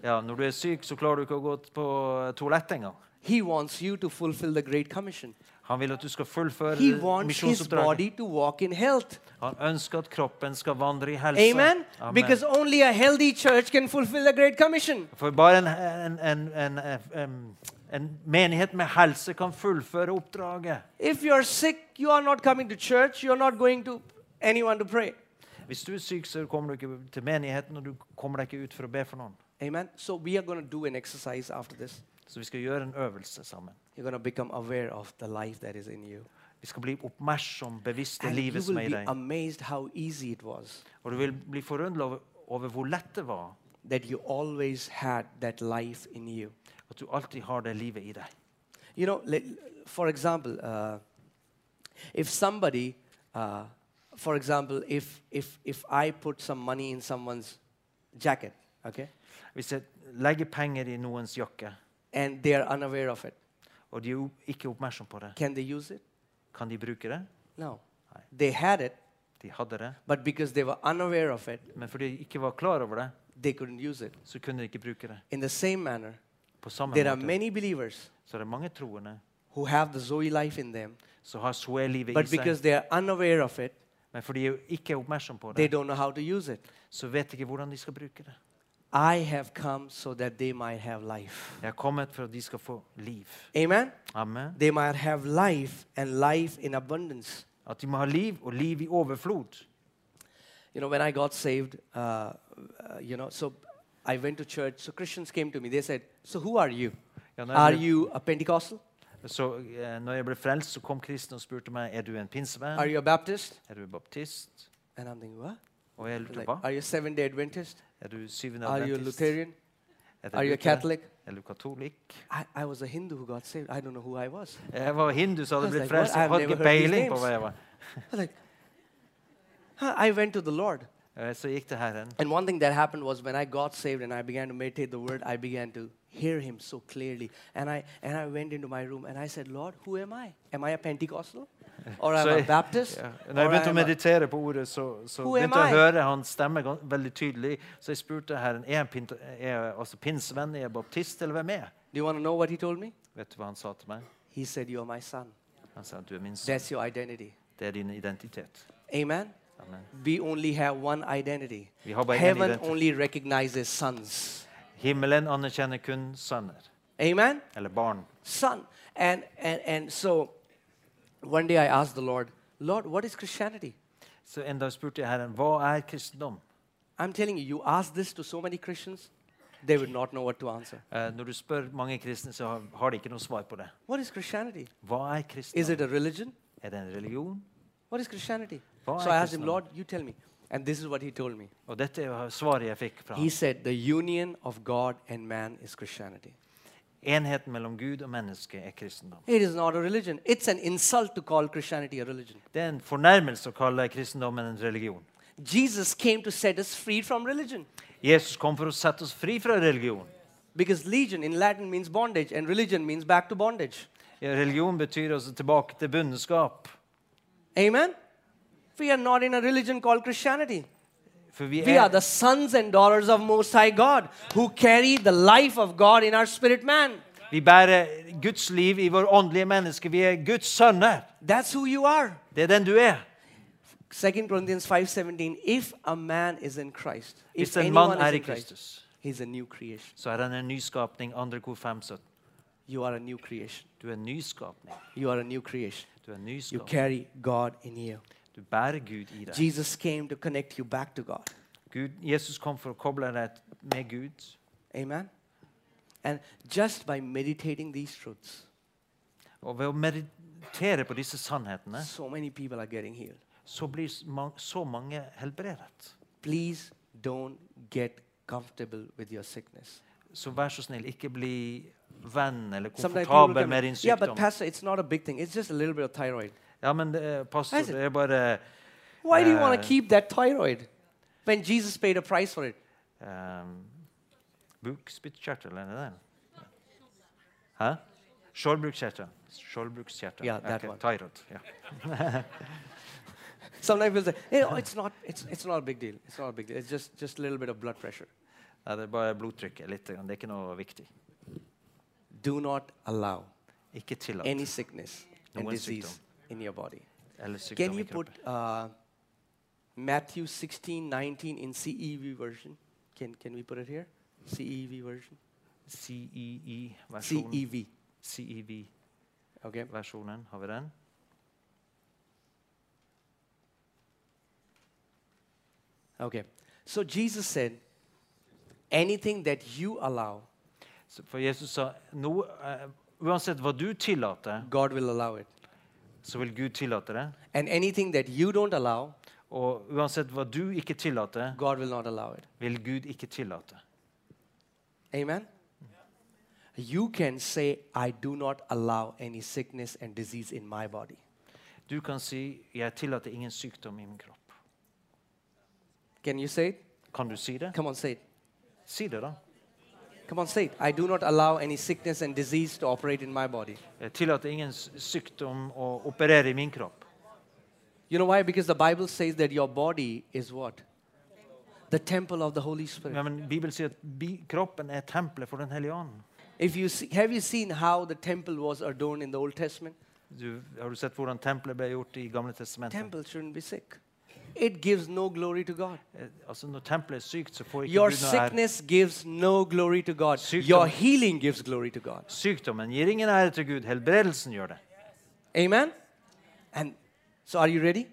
Speaker 2: Ja, når du er syk, så klarer du ikke å gå på toalettet engang.
Speaker 1: He wants you to fulfill the Great Commission.
Speaker 2: Han vil at du skal fullføre
Speaker 1: He wants his
Speaker 2: misjonsoppdraget.
Speaker 1: body to walk in health.
Speaker 2: Han ønsker at kroppen skal vandre i helse.
Speaker 1: Amen?
Speaker 2: Amen.
Speaker 1: Because only a healthy church can fulfill the Great Commission.
Speaker 2: For bare en, en, en, en, em, en menighet med helse kan fullføre oppdraget.
Speaker 1: If you're sick, you are not coming to church, you're not going to anyone to pray.
Speaker 2: Hvis du er syk, så kommer du ikke til menigheten, og du kommer deg ikke ut for å be for noen.
Speaker 1: Amen? So, we are going to do an exercise after this.
Speaker 2: Så vi skal gjøre en øvelse sammen.
Speaker 1: You're going to become aware of the life that is in you.
Speaker 2: Vi skal bli oppmerksom, bevisst det
Speaker 1: And you
Speaker 2: livet
Speaker 1: will
Speaker 2: som er i
Speaker 1: be
Speaker 2: deg.
Speaker 1: amazed how easy it was
Speaker 2: Og du vil bli forundret over, over hvor lett det var
Speaker 1: that you always had that life in you.
Speaker 2: at du alltid har det livet i deg.
Speaker 1: You know, let, for example, uh, if somebody, uh, for example, if, if, if I put some money in someone's jacket, okay,
Speaker 2: Hvis jeg legger penger i noens jakke,
Speaker 1: and they are unaware of it,
Speaker 2: og de er jo ikke oppmerksom på det,
Speaker 1: can they use it?
Speaker 2: kan de bruke det?
Speaker 1: No.
Speaker 2: Aye.
Speaker 1: They had it,
Speaker 2: De hadde det.
Speaker 1: but because they were unaware of it,
Speaker 2: Men fordi de ikke var klar over det,
Speaker 1: they couldn't use it.
Speaker 2: så kunne de ikke bruke det.
Speaker 1: In the same manner,
Speaker 2: På samme
Speaker 1: there are
Speaker 2: måte
Speaker 1: many believers
Speaker 2: så er det mange troende
Speaker 1: who have the Zoe life in them,
Speaker 2: som har soe-livet i
Speaker 1: but
Speaker 2: seg.
Speaker 1: because they are unaware of it,
Speaker 2: Men fordi de ikke er oppmerksom på
Speaker 1: they
Speaker 2: det,
Speaker 1: don't know how to use it.
Speaker 2: så vet de ikke hvordan de skal bruke det.
Speaker 1: I have come so that they might have life.
Speaker 2: Jeg er kommet for at de skal få liv.
Speaker 1: Amen?
Speaker 2: Amen.
Speaker 1: They might have life and life in abundance.
Speaker 2: At de må ha liv, og liv i overflod.
Speaker 1: You know, when I got saved, uh, uh, you know, so I went to church. So Christians came to me. They said, So who are you?
Speaker 2: Ja, når
Speaker 1: Are
Speaker 2: jeg ble,
Speaker 1: you a Pentecostal?
Speaker 2: så eh, når jeg ble frelst, så kom kristne og spurte meg er du en pinsevenn,
Speaker 1: Are you a Baptist?
Speaker 2: er du baptist,
Speaker 1: And I'm thinking, What?
Speaker 2: og jeg lurte
Speaker 1: Like,
Speaker 2: hva?
Speaker 1: are you a Seventh day Adventist?
Speaker 2: Er du syvende
Speaker 1: Are you a
Speaker 2: adventist?
Speaker 1: Lutheran?
Speaker 2: Er du
Speaker 1: Are you a
Speaker 2: lutherer?
Speaker 1: Catholic?
Speaker 2: Er du katolikk?
Speaker 1: I, I was a Hindu who got saved. I don't know who I was.
Speaker 2: Jeg var hindu som
Speaker 1: I was
Speaker 2: hadde blitt
Speaker 1: like, what?
Speaker 2: frelst.
Speaker 1: I've
Speaker 2: Jeg
Speaker 1: never
Speaker 2: hadde ikke
Speaker 1: heard these
Speaker 2: peiling på
Speaker 1: names.
Speaker 2: hva jeg var.
Speaker 1: I'm like, huh, I went to the Lord.
Speaker 2: Eh, Så gikk til Herren.
Speaker 1: And one thing that happened was when I got saved and I began to meditate the word, I began to hear him so clearly. And I, and I went into my room and I said, Lord, who am I? Am I a Pentecostal? Or am I a
Speaker 2: jeg-
Speaker 1: Baptist?
Speaker 2: ja. Når jeg
Speaker 1: Or
Speaker 2: begynte å
Speaker 1: am I-
Speaker 2: meditere på ordet, så, så
Speaker 1: Who am
Speaker 2: begynte jeg
Speaker 1: I?
Speaker 2: å høre hans stemme gan- veldig tydelig. Så jeg spurte herren er jeg pint- er jeg altså pinsevenn, er jeg baptist, eller hvem er jeg?
Speaker 1: Do you want to know what he told me?
Speaker 2: Vet du hva han sa til meg?
Speaker 1: He said, You're my son.
Speaker 2: Han sa du er min sønn.
Speaker 1: That's your identity.
Speaker 2: Det er din identitet.
Speaker 1: Amen.
Speaker 2: Amen.
Speaker 1: We only have one identity.
Speaker 2: Vi har bara en
Speaker 1: Heaven
Speaker 2: identitet.
Speaker 1: only recognizes sons.
Speaker 2: Himmelen anerkjenner kun sønner,
Speaker 1: Amen.
Speaker 2: eller barn.
Speaker 1: Son. And, and, and so one day I asked the Lord, Lord, what is Christianity?
Speaker 2: Så en dag spurte jeg herren hva er kristendom.
Speaker 1: I'm telling you, you ask this to so many Christians, they would not know what to answer.
Speaker 2: Eh, Når du spør mange kristne, så har- har de ikke noe svar på det.
Speaker 1: What is Christianity?
Speaker 2: Hva er
Speaker 1: Is it
Speaker 2: kristendom?
Speaker 1: a religion?
Speaker 2: Er det en religion?
Speaker 1: What is Christianity?
Speaker 2: Vad
Speaker 1: so
Speaker 2: är
Speaker 1: I asked him,
Speaker 2: kristendom?
Speaker 1: Lord, you tell me. And this is what he told me.
Speaker 2: Og dette er jo svaret jeg fikk fra
Speaker 1: He
Speaker 2: ham.
Speaker 1: said, The union of God and man is Christianity.
Speaker 2: Enheten mellom Gud og menneske er kristendom.
Speaker 1: It is not a religion. It's an insult to call Christianity a religion.
Speaker 2: Det er en fornærmelse å kalle kristendommen en religion.
Speaker 1: Jesus came to set us free from religion.
Speaker 2: Jesus kom for å sette oss fri fra religion.
Speaker 1: Because legion in Latin means bondage, and religion means back to bondage.
Speaker 2: Ja, Religion betyr altså tilbake til bundeskap.
Speaker 1: Amen? We are not in a religion called Christianity.
Speaker 2: For vi
Speaker 1: We are
Speaker 2: er,
Speaker 1: the sons and daughters of Most High God who carry the life of God in our spirit man.
Speaker 2: vi bærer Guds liv i vår åndelige menneske. Vi er Guds sønner.
Speaker 1: That's who you are.
Speaker 2: Det er den du er.
Speaker 1: 2 Corinthians 5:17 If a man is in Christ,
Speaker 2: Hvis
Speaker 1: if
Speaker 2: en mann
Speaker 1: anyone is
Speaker 2: er i
Speaker 1: in Christ,
Speaker 2: Kristus,
Speaker 1: he's a new creation.
Speaker 2: så er han en nyskapning. Andre kor 517.
Speaker 1: You are a new creation.
Speaker 2: Du er en nyskapning.
Speaker 1: You are a new creation.
Speaker 2: Du er en
Speaker 1: You
Speaker 2: nyskapning.
Speaker 1: carry God in you.
Speaker 2: Du bærer Gud i deg.
Speaker 1: Jesus came to connect you back to God.
Speaker 2: Gud, Jesus kom for å koble deg med Gud.
Speaker 1: Amen. And just by meditating these truths,
Speaker 2: Og ved å meditere på disse sannhetene,
Speaker 1: so many people are getting healed.
Speaker 2: så blir s- ma- så mange helbredet.
Speaker 1: Please don't get comfortable with your sickness.
Speaker 2: Så vær så snill, ikke bli venn eller
Speaker 1: Sometimes people
Speaker 2: komfortabel
Speaker 1: come,
Speaker 2: med din
Speaker 1: yeah, but
Speaker 2: sykdom.
Speaker 1: pastor, it's not a big thing. It's just a little bit of thyroid.
Speaker 2: Ja, men eh, pastor,
Speaker 1: Isaac.
Speaker 2: det er bare
Speaker 1: Why do you want
Speaker 2: Uh,
Speaker 1: to keep that thyroid when Jesus paid a price for it?
Speaker 2: um, bukspyttkjertel, er det det? Hæ? Skjoldbrukskjertel. Skjoldbrukskjertel.
Speaker 1: Yeah, that
Speaker 2: Ok,
Speaker 1: one.
Speaker 2: Thyroid. Ja.
Speaker 1: Sometimes people say, "Hey, oh, it's not, it's, it's not a big deal. It's not a big deal. It's just, just a little bit of blood pressure.
Speaker 2: Nei, det er bare blodtrykket litt. grann. Det er ikke noe viktig.
Speaker 1: Do not allow
Speaker 2: Ikke tillatt.
Speaker 1: any sickness
Speaker 2: No
Speaker 1: and
Speaker 2: one
Speaker 1: disease
Speaker 2: symptom.
Speaker 1: in your body.
Speaker 2: Eller
Speaker 1: Can
Speaker 2: sykdom i
Speaker 1: you put uh,
Speaker 2: kroppen.
Speaker 1: Matthew 16, 19 in CEV version? Can, can we put it here? CEV version?
Speaker 2: E CEI-versjonen.
Speaker 1: CEV.
Speaker 2: CEV-versjonen,
Speaker 1: Okay.
Speaker 2: E har vi den?
Speaker 1: Okay. So Jesus said, anything that you allow,
Speaker 2: Så- For Jesus sa noe, eh, uansett hva du tillater,
Speaker 1: God will allow it.
Speaker 2: så vil Gud tillate det.
Speaker 1: And anything that you don't allow,
Speaker 2: Og uansett hva du ikke tillater,
Speaker 1: God will not allow it.
Speaker 2: vil Gud ikke tillate.
Speaker 1: Amen? You can say, I do not allow any sickness and disease in my body.
Speaker 2: Du kan si 'Jeg tillater ingen sykdom i min kropp'.
Speaker 1: Can you say it?
Speaker 2: Kan du si det?
Speaker 1: Come on, say it.
Speaker 2: Si det, da.
Speaker 1: Come on, say it. I do not allow any sickness and disease to operate in my body.
Speaker 2: Jeg tillater ingen s- sykdom å operere i min kropp.
Speaker 1: You know why? Because the Bible says that your body is what? The temple of the Holy Spirit.
Speaker 2: Ja, men Bibelen sier at bi kroppen er tempelet for Den hellige ånd.
Speaker 1: If you see, have you seen how the temple was adorned in the Old Testament?
Speaker 2: Du, har du sett hvordan tempelet ble gjort i Gamle testamentet?
Speaker 1: Temple shouldn't be sick. It gives no glory to God.
Speaker 2: Eh, Altså, Når tempelet er sykt, så får ikke
Speaker 1: Your
Speaker 2: Gud noe ære.
Speaker 1: sickness gives no glory to God.
Speaker 2: Sykdom.
Speaker 1: Your healing gives glory to God.
Speaker 2: Sykdommen gir ingen ære til Gud. Helbredelsen gjør det.
Speaker 1: Amen. And so, are you ready?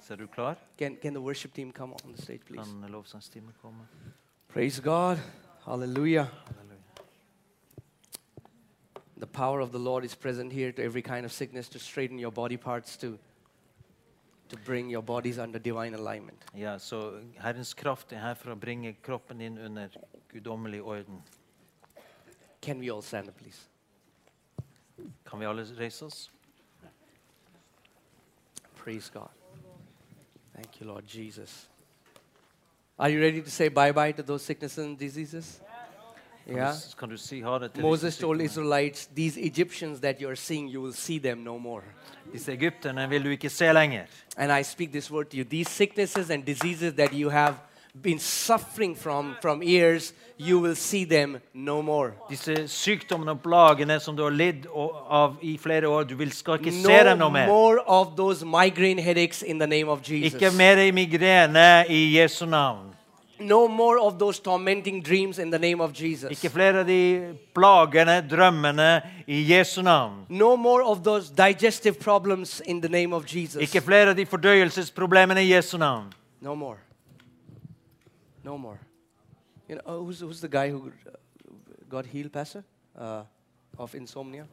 Speaker 2: Så er du klar?
Speaker 1: Can can the worship team come on the stage, please?
Speaker 2: Kan lovsangstimen komme?
Speaker 1: Praise God. Hallelujah.
Speaker 2: Halleluja.
Speaker 1: The power of the Lord is present here to every kind of sickness, to straighten your body parts, to, to bring your bodies under divine alignment.
Speaker 2: Ja, så Herrens kraft er her for å bringe kroppen inn under guddommelig orden.
Speaker 1: Can we all stand up, please?
Speaker 2: Kan vi alle reise oss?
Speaker 1: Praise God. Thank you, Lord Jesus. Are you ready to say bye bye to those sicknesses and diseases?
Speaker 2: Kan,
Speaker 1: Ja.
Speaker 2: du, s- kan du si ha det til
Speaker 1: Moses
Speaker 2: disse
Speaker 1: told
Speaker 2: egypterne?
Speaker 1: Israelites, These Egyptians that you're seeing, you will see them no more.
Speaker 2: Disse egypterne vil du ikke se lenger.
Speaker 1: And I speak this word to you. These sicknesses and diseases that you have been suffering from from years, you will see them no more.
Speaker 2: Disse sykdommene og plagene som du har lidd o- av i flere år, du vil, skal ikke se dem
Speaker 1: No
Speaker 2: noe mer.
Speaker 1: more of those migraine headaches in the name of
Speaker 2: Ikke
Speaker 1: Jesus.
Speaker 2: mer migrene i Jesu navn.
Speaker 1: No more of those tormenting dreams in the name of Jesus.
Speaker 2: Ikke flere av de plagene, drømmene, i Jesu navn.
Speaker 1: No more of those digestive problems in the name of Jesus.
Speaker 2: Ikke flere av de fordøyelsesproblemene i Jesu navn.
Speaker 1: No more. No more. You know, oh, who's, who's the guy who uh, got healed, Pastor? Uh, of insomnia?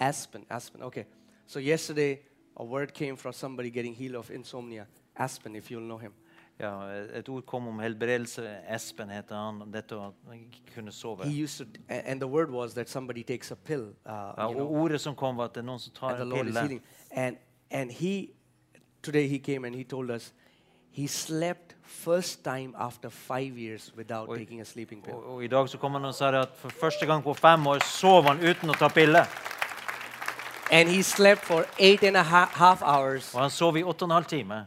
Speaker 1: Aspen. Aspen, okay. So yesterday, a word came from somebody getting healed of insomnia. Aspen, if you'll know him.
Speaker 2: Ja, et ord kom om helbredelse. Espen heter han. om Dette å ikke kunne sove.
Speaker 1: He used to, a- and the word was that somebody takes a pill, uh,
Speaker 2: Ja,
Speaker 1: you know,
Speaker 2: og ordet som kom, var at det er noen som tar
Speaker 1: and the
Speaker 2: en
Speaker 1: Lord is
Speaker 2: pille.
Speaker 1: healing. And, and he, today he came and he told us, he slept first time after five years without
Speaker 2: Oi.
Speaker 1: taking a sleeping pill.
Speaker 2: Og, og I dag så kom han og sa det at for første gang på fem år sov han uten å ta pille.
Speaker 1: and he slept for eight and a ha- half hours.
Speaker 2: Og han sov i åtte og en halv time.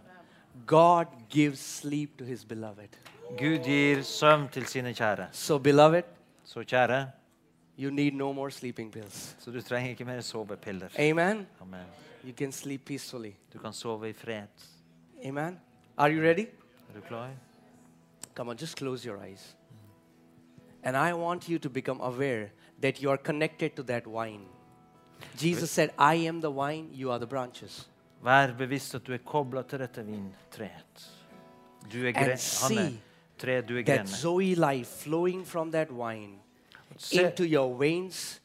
Speaker 1: God gives sleep to his beloved.
Speaker 2: Gud gir søvn til sine kjære.
Speaker 1: So, beloved,
Speaker 2: Så kjære,
Speaker 1: you need no more sleeping pills.
Speaker 2: så du trenger ikke mer sovepiller.
Speaker 1: Amen.
Speaker 2: Amen.
Speaker 1: You can sleep peacefully.
Speaker 2: Du kan sove i fred.
Speaker 1: Amen. Are you ready?
Speaker 2: Er du klar?
Speaker 1: Come on, just close your eyes. And I want you to become aware that you are connected to that vine. Jesus said, I am the vine, you are the branches.
Speaker 2: Vær bevisst at du er kobla til dette vintreet. Du er
Speaker 1: And
Speaker 2: gre han er
Speaker 1: see
Speaker 2: tre, du er
Speaker 1: That
Speaker 2: grene.
Speaker 1: Zoe life flowing from that vine
Speaker 2: Se,
Speaker 1: into your veins,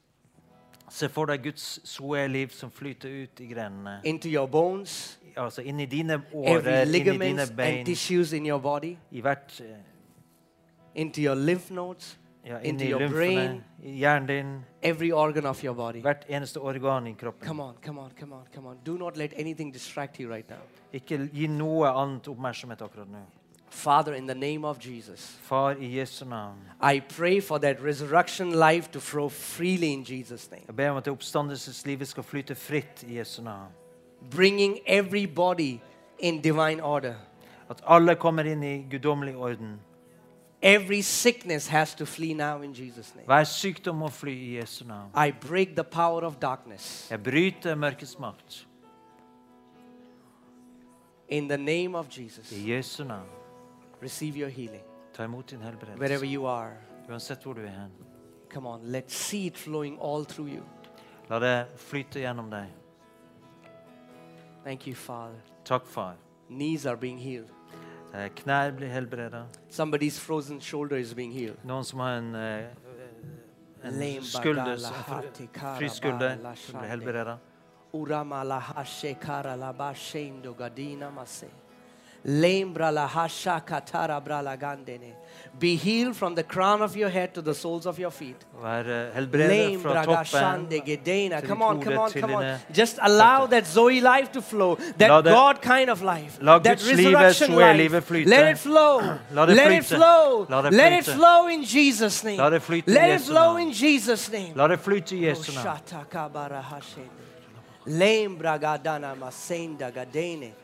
Speaker 2: se for deg Guds soeliv som flyter ut i grenene.
Speaker 1: into your bones,
Speaker 2: Altså inni dine
Speaker 1: every
Speaker 2: årer, inni dine
Speaker 1: ligaments and
Speaker 2: bein,
Speaker 1: tissues in your body,
Speaker 2: i hvert eh,
Speaker 1: into your lymph nodes,
Speaker 2: ja,
Speaker 1: into
Speaker 2: inni
Speaker 1: your
Speaker 2: lymfene,
Speaker 1: brain,
Speaker 2: i hjernen din,
Speaker 1: every organ of your body.
Speaker 2: hvert eneste organ i kroppen.
Speaker 1: Come on, come on, come on, come on. Do not let anything distract you right now.
Speaker 2: Ikke gi noe annet oppmerksomhet akkurat nå.
Speaker 1: Father, in the name of Jesus,
Speaker 2: Far, i Jesu navn,
Speaker 1: I pray for that resurrection life to flow freely in Jesus' name,
Speaker 2: jeg ber om at det oppstandelseslivet skal flyte fritt i Jesu navn.
Speaker 1: bringing every body in divine order.
Speaker 2: At alle kommer inn i guddommelig orden.
Speaker 1: Every sickness has to flee now in Jesus' name.
Speaker 2: Hver sykdom må fly i Jesu navn.
Speaker 1: I break the power of darkness
Speaker 2: Jeg bryter mørkets makt
Speaker 1: in the name of Jesus.
Speaker 2: i Jesu navn.
Speaker 1: Receive your healing
Speaker 2: Ta imot din
Speaker 1: wherever
Speaker 2: helbredelse,
Speaker 1: you are.
Speaker 2: uansett hvor du er hen.
Speaker 1: Come on, let's see it flowing all through you.
Speaker 2: La det flyte gjennom deg.
Speaker 1: Thank you, Father.
Speaker 2: Takk, far.
Speaker 1: Knees are being healed.
Speaker 2: Eh, Knær blir helbreda.
Speaker 1: Somebody's frozen shoulder is being healed.
Speaker 2: Noen som har en, eh, en
Speaker 1: Lem
Speaker 2: skulder,
Speaker 1: bagala
Speaker 2: som-
Speaker 1: hati kara
Speaker 2: fri skulder,
Speaker 1: bala
Speaker 2: som blir
Speaker 1: shande.
Speaker 2: helbreda.
Speaker 1: Urama la hashe kara la bashendo gadina mase. Lembra la hasha katara brala gandene. Be healed from the crown of your head to the soles of your feet.
Speaker 2: Vær eh, helbredet fra
Speaker 1: Lembra
Speaker 2: toppen.
Speaker 1: gashande gedena.
Speaker 2: til
Speaker 1: Come on,
Speaker 2: ditt
Speaker 1: come
Speaker 2: hode,
Speaker 1: on,
Speaker 2: til
Speaker 1: come on.
Speaker 2: dine
Speaker 1: Just allow
Speaker 2: føtter.
Speaker 1: that Zoe life to flow.
Speaker 2: La
Speaker 1: That
Speaker 2: det-
Speaker 1: God kind of life.
Speaker 2: La
Speaker 1: That
Speaker 2: Guds livet,
Speaker 1: resurrection
Speaker 2: Zoe-livet
Speaker 1: life.
Speaker 2: flyte.
Speaker 1: Let it flow.
Speaker 2: La det
Speaker 1: Let it
Speaker 2: flyte.
Speaker 1: flow.
Speaker 2: La det
Speaker 1: Let it
Speaker 2: flyte.
Speaker 1: flow in Jesus' name.
Speaker 2: La det flyte i
Speaker 1: Let it
Speaker 2: Jesu
Speaker 1: flow
Speaker 2: navn.
Speaker 1: in Jesus' name.
Speaker 2: La det flyte i Jesu navn.
Speaker 1: Oshatakabarahashene. Lembra gadana masenda gadene.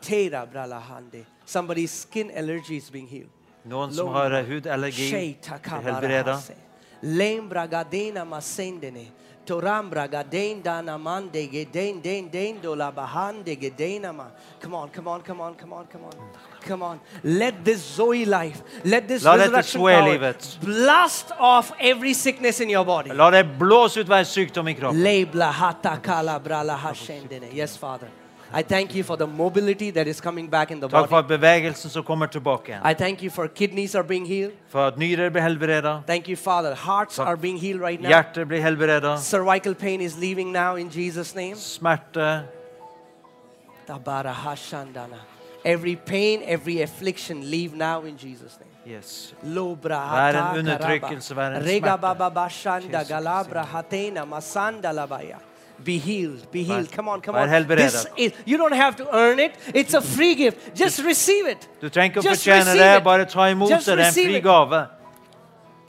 Speaker 1: Tera bralahande. Somebody's skin allergy is being healed.
Speaker 2: Noen som
Speaker 1: Lord.
Speaker 2: har eh, hudallergi, blir helbreda.
Speaker 1: Sheitakabarahase. Lembra gadena masendene. Torambra gadenda namande geden den den dola bahande gedenama. Come on, come on, come on, come on, come on. Come on. Let this Zoe life, let this
Speaker 2: La dette
Speaker 1: resurrection power
Speaker 2: Zoe-livet.
Speaker 1: blast off every sickness in your body.
Speaker 2: La det blåse ut hver sykdom i kroppen.
Speaker 1: Labla hata kala brala hashendene. Yes, Father. I thank you for the mobility that is coming back in the
Speaker 2: Takk for
Speaker 1: body.
Speaker 2: at bevegelsen som kommer tilbake igjen.
Speaker 1: I thank you for kidneys are being healed.
Speaker 2: For at nyrer blir helbreda.
Speaker 1: Thank you, Father. Hearts
Speaker 2: Takk.
Speaker 1: are being healed right now.
Speaker 2: Hjertet blir helbreda.
Speaker 1: Cervical pain is leaving now in Jesus' name.
Speaker 2: Smerte.
Speaker 1: Tabara hashandana. Every pain, every affliction, leave now in Jesus' name.
Speaker 2: Yes.
Speaker 1: Lobra
Speaker 2: Vær en
Speaker 1: hata karaba.
Speaker 2: undertrykkelse, vær en
Speaker 1: Rega
Speaker 2: smerte.
Speaker 1: baba bashanda
Speaker 2: Jesus
Speaker 1: galabra hatena masanda labaya. Be healed, be healed. Come on, come
Speaker 2: vær
Speaker 1: on.
Speaker 2: helbredet.
Speaker 1: This is, you don't have to earn it. It's a free gift. Just receive it.
Speaker 2: Du trenger ikke å
Speaker 1: Just
Speaker 2: fortjene
Speaker 1: receive
Speaker 2: det,
Speaker 1: it.
Speaker 2: bare ta imot
Speaker 1: Just
Speaker 2: det. Det er en
Speaker 1: receive
Speaker 2: fri
Speaker 1: it.
Speaker 2: gave.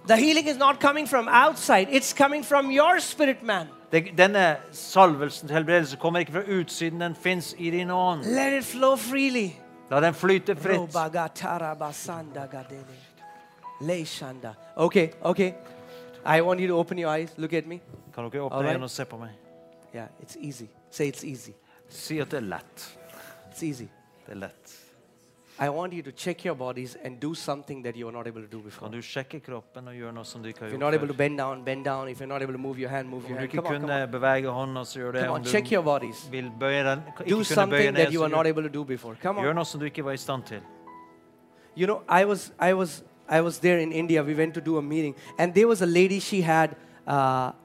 Speaker 1: The healing is not coming from outside, it's coming from your spirit man.
Speaker 2: Det, denne salvelsen til helbredelse kommer ikke fra utsiden, den fins i din ånd.
Speaker 1: Let it flow freely.
Speaker 2: La den flyte fritt.
Speaker 1: Robagatarabasandagadele. Leishanda. Okay, okay. I want you to open your eyes. Look at me.
Speaker 2: Kan dere åpne
Speaker 1: Alright.
Speaker 2: øynene og se på meg?
Speaker 1: Yeah, it's easy. Say it's easy.
Speaker 2: Si at det er lett.
Speaker 1: It's easy.
Speaker 2: Det er lett.
Speaker 1: I want you to check your bodies and do something that you were not able to do before.
Speaker 2: Kan du sjekke kroppen og gjøre noe som du ikke
Speaker 1: If
Speaker 2: har
Speaker 1: you're not able
Speaker 2: gjort
Speaker 1: to
Speaker 2: før?
Speaker 1: bend down, bend down. If you're not able to move your hand, move
Speaker 2: Om
Speaker 1: your
Speaker 2: du
Speaker 1: hand.
Speaker 2: ikke
Speaker 1: Come on, come
Speaker 2: kunne
Speaker 1: on.
Speaker 2: bevege hånda, så gjør det.
Speaker 1: Come on,
Speaker 2: Om du
Speaker 1: check your bodies.
Speaker 2: vil bøye den,
Speaker 1: Do
Speaker 2: ikke kunne bøye
Speaker 1: something that
Speaker 2: ned,
Speaker 1: you
Speaker 2: så
Speaker 1: were not
Speaker 2: gjør,
Speaker 1: able to do before. Come on.
Speaker 2: gjør noe som du ikke var i stand til.
Speaker 1: You know, I was, I was, I was there in India. We went to do a meeting, and there was a lady. She had, uh,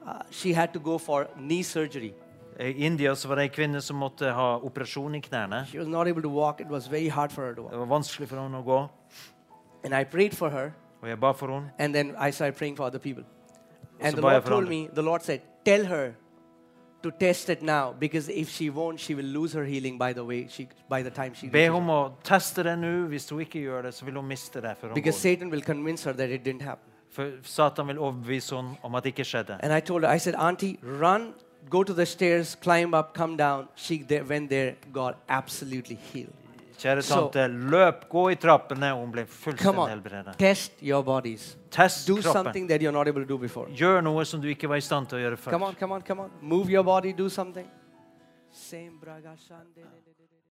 Speaker 1: uh, she had to go for knee surgery.
Speaker 2: I India så var det ei kvinne som måtte ha operasjon i knærne.
Speaker 1: She was not able to walk. It was very hard for her to
Speaker 2: Det
Speaker 1: walk.
Speaker 2: var vanskelig for henne å gå,
Speaker 1: And I prayed for her,
Speaker 2: og jeg ba for henne.
Speaker 1: and then I started praying for other people. And
Speaker 2: so
Speaker 1: the
Speaker 2: by
Speaker 1: Lord
Speaker 2: Avram-
Speaker 1: told me, the Lord said, tell her to test it now, because if she won't, she will lose her healing by the way she, by the time she.
Speaker 2: Be
Speaker 1: reaches
Speaker 2: om å teste det nå. Hvis hun ikke gjør det, så vil hun miste det. før
Speaker 1: it.
Speaker 2: hun
Speaker 1: Because
Speaker 2: går.
Speaker 1: Satan will convince her that it didn't happen.
Speaker 2: For Satan vil overbevise henne om at det ikke skjedde.
Speaker 1: And I told her, I said, Auntie, run, go to the stairs, climb up, come down. She there, went there, got absolutely healed.
Speaker 2: Kjære
Speaker 1: So-
Speaker 2: tante, løp, gå i trappene. Hun ble
Speaker 1: Come
Speaker 2: fullstendig
Speaker 1: on,
Speaker 2: helbredet.
Speaker 1: test your bodies.
Speaker 2: Test
Speaker 1: Do
Speaker 2: kroppen.
Speaker 1: something that you're not able to do before.
Speaker 2: Gjør noe som du ikke var i stand til å gjøre før.
Speaker 1: Come on, come on, come on. Move your body, do something. Same braga shande.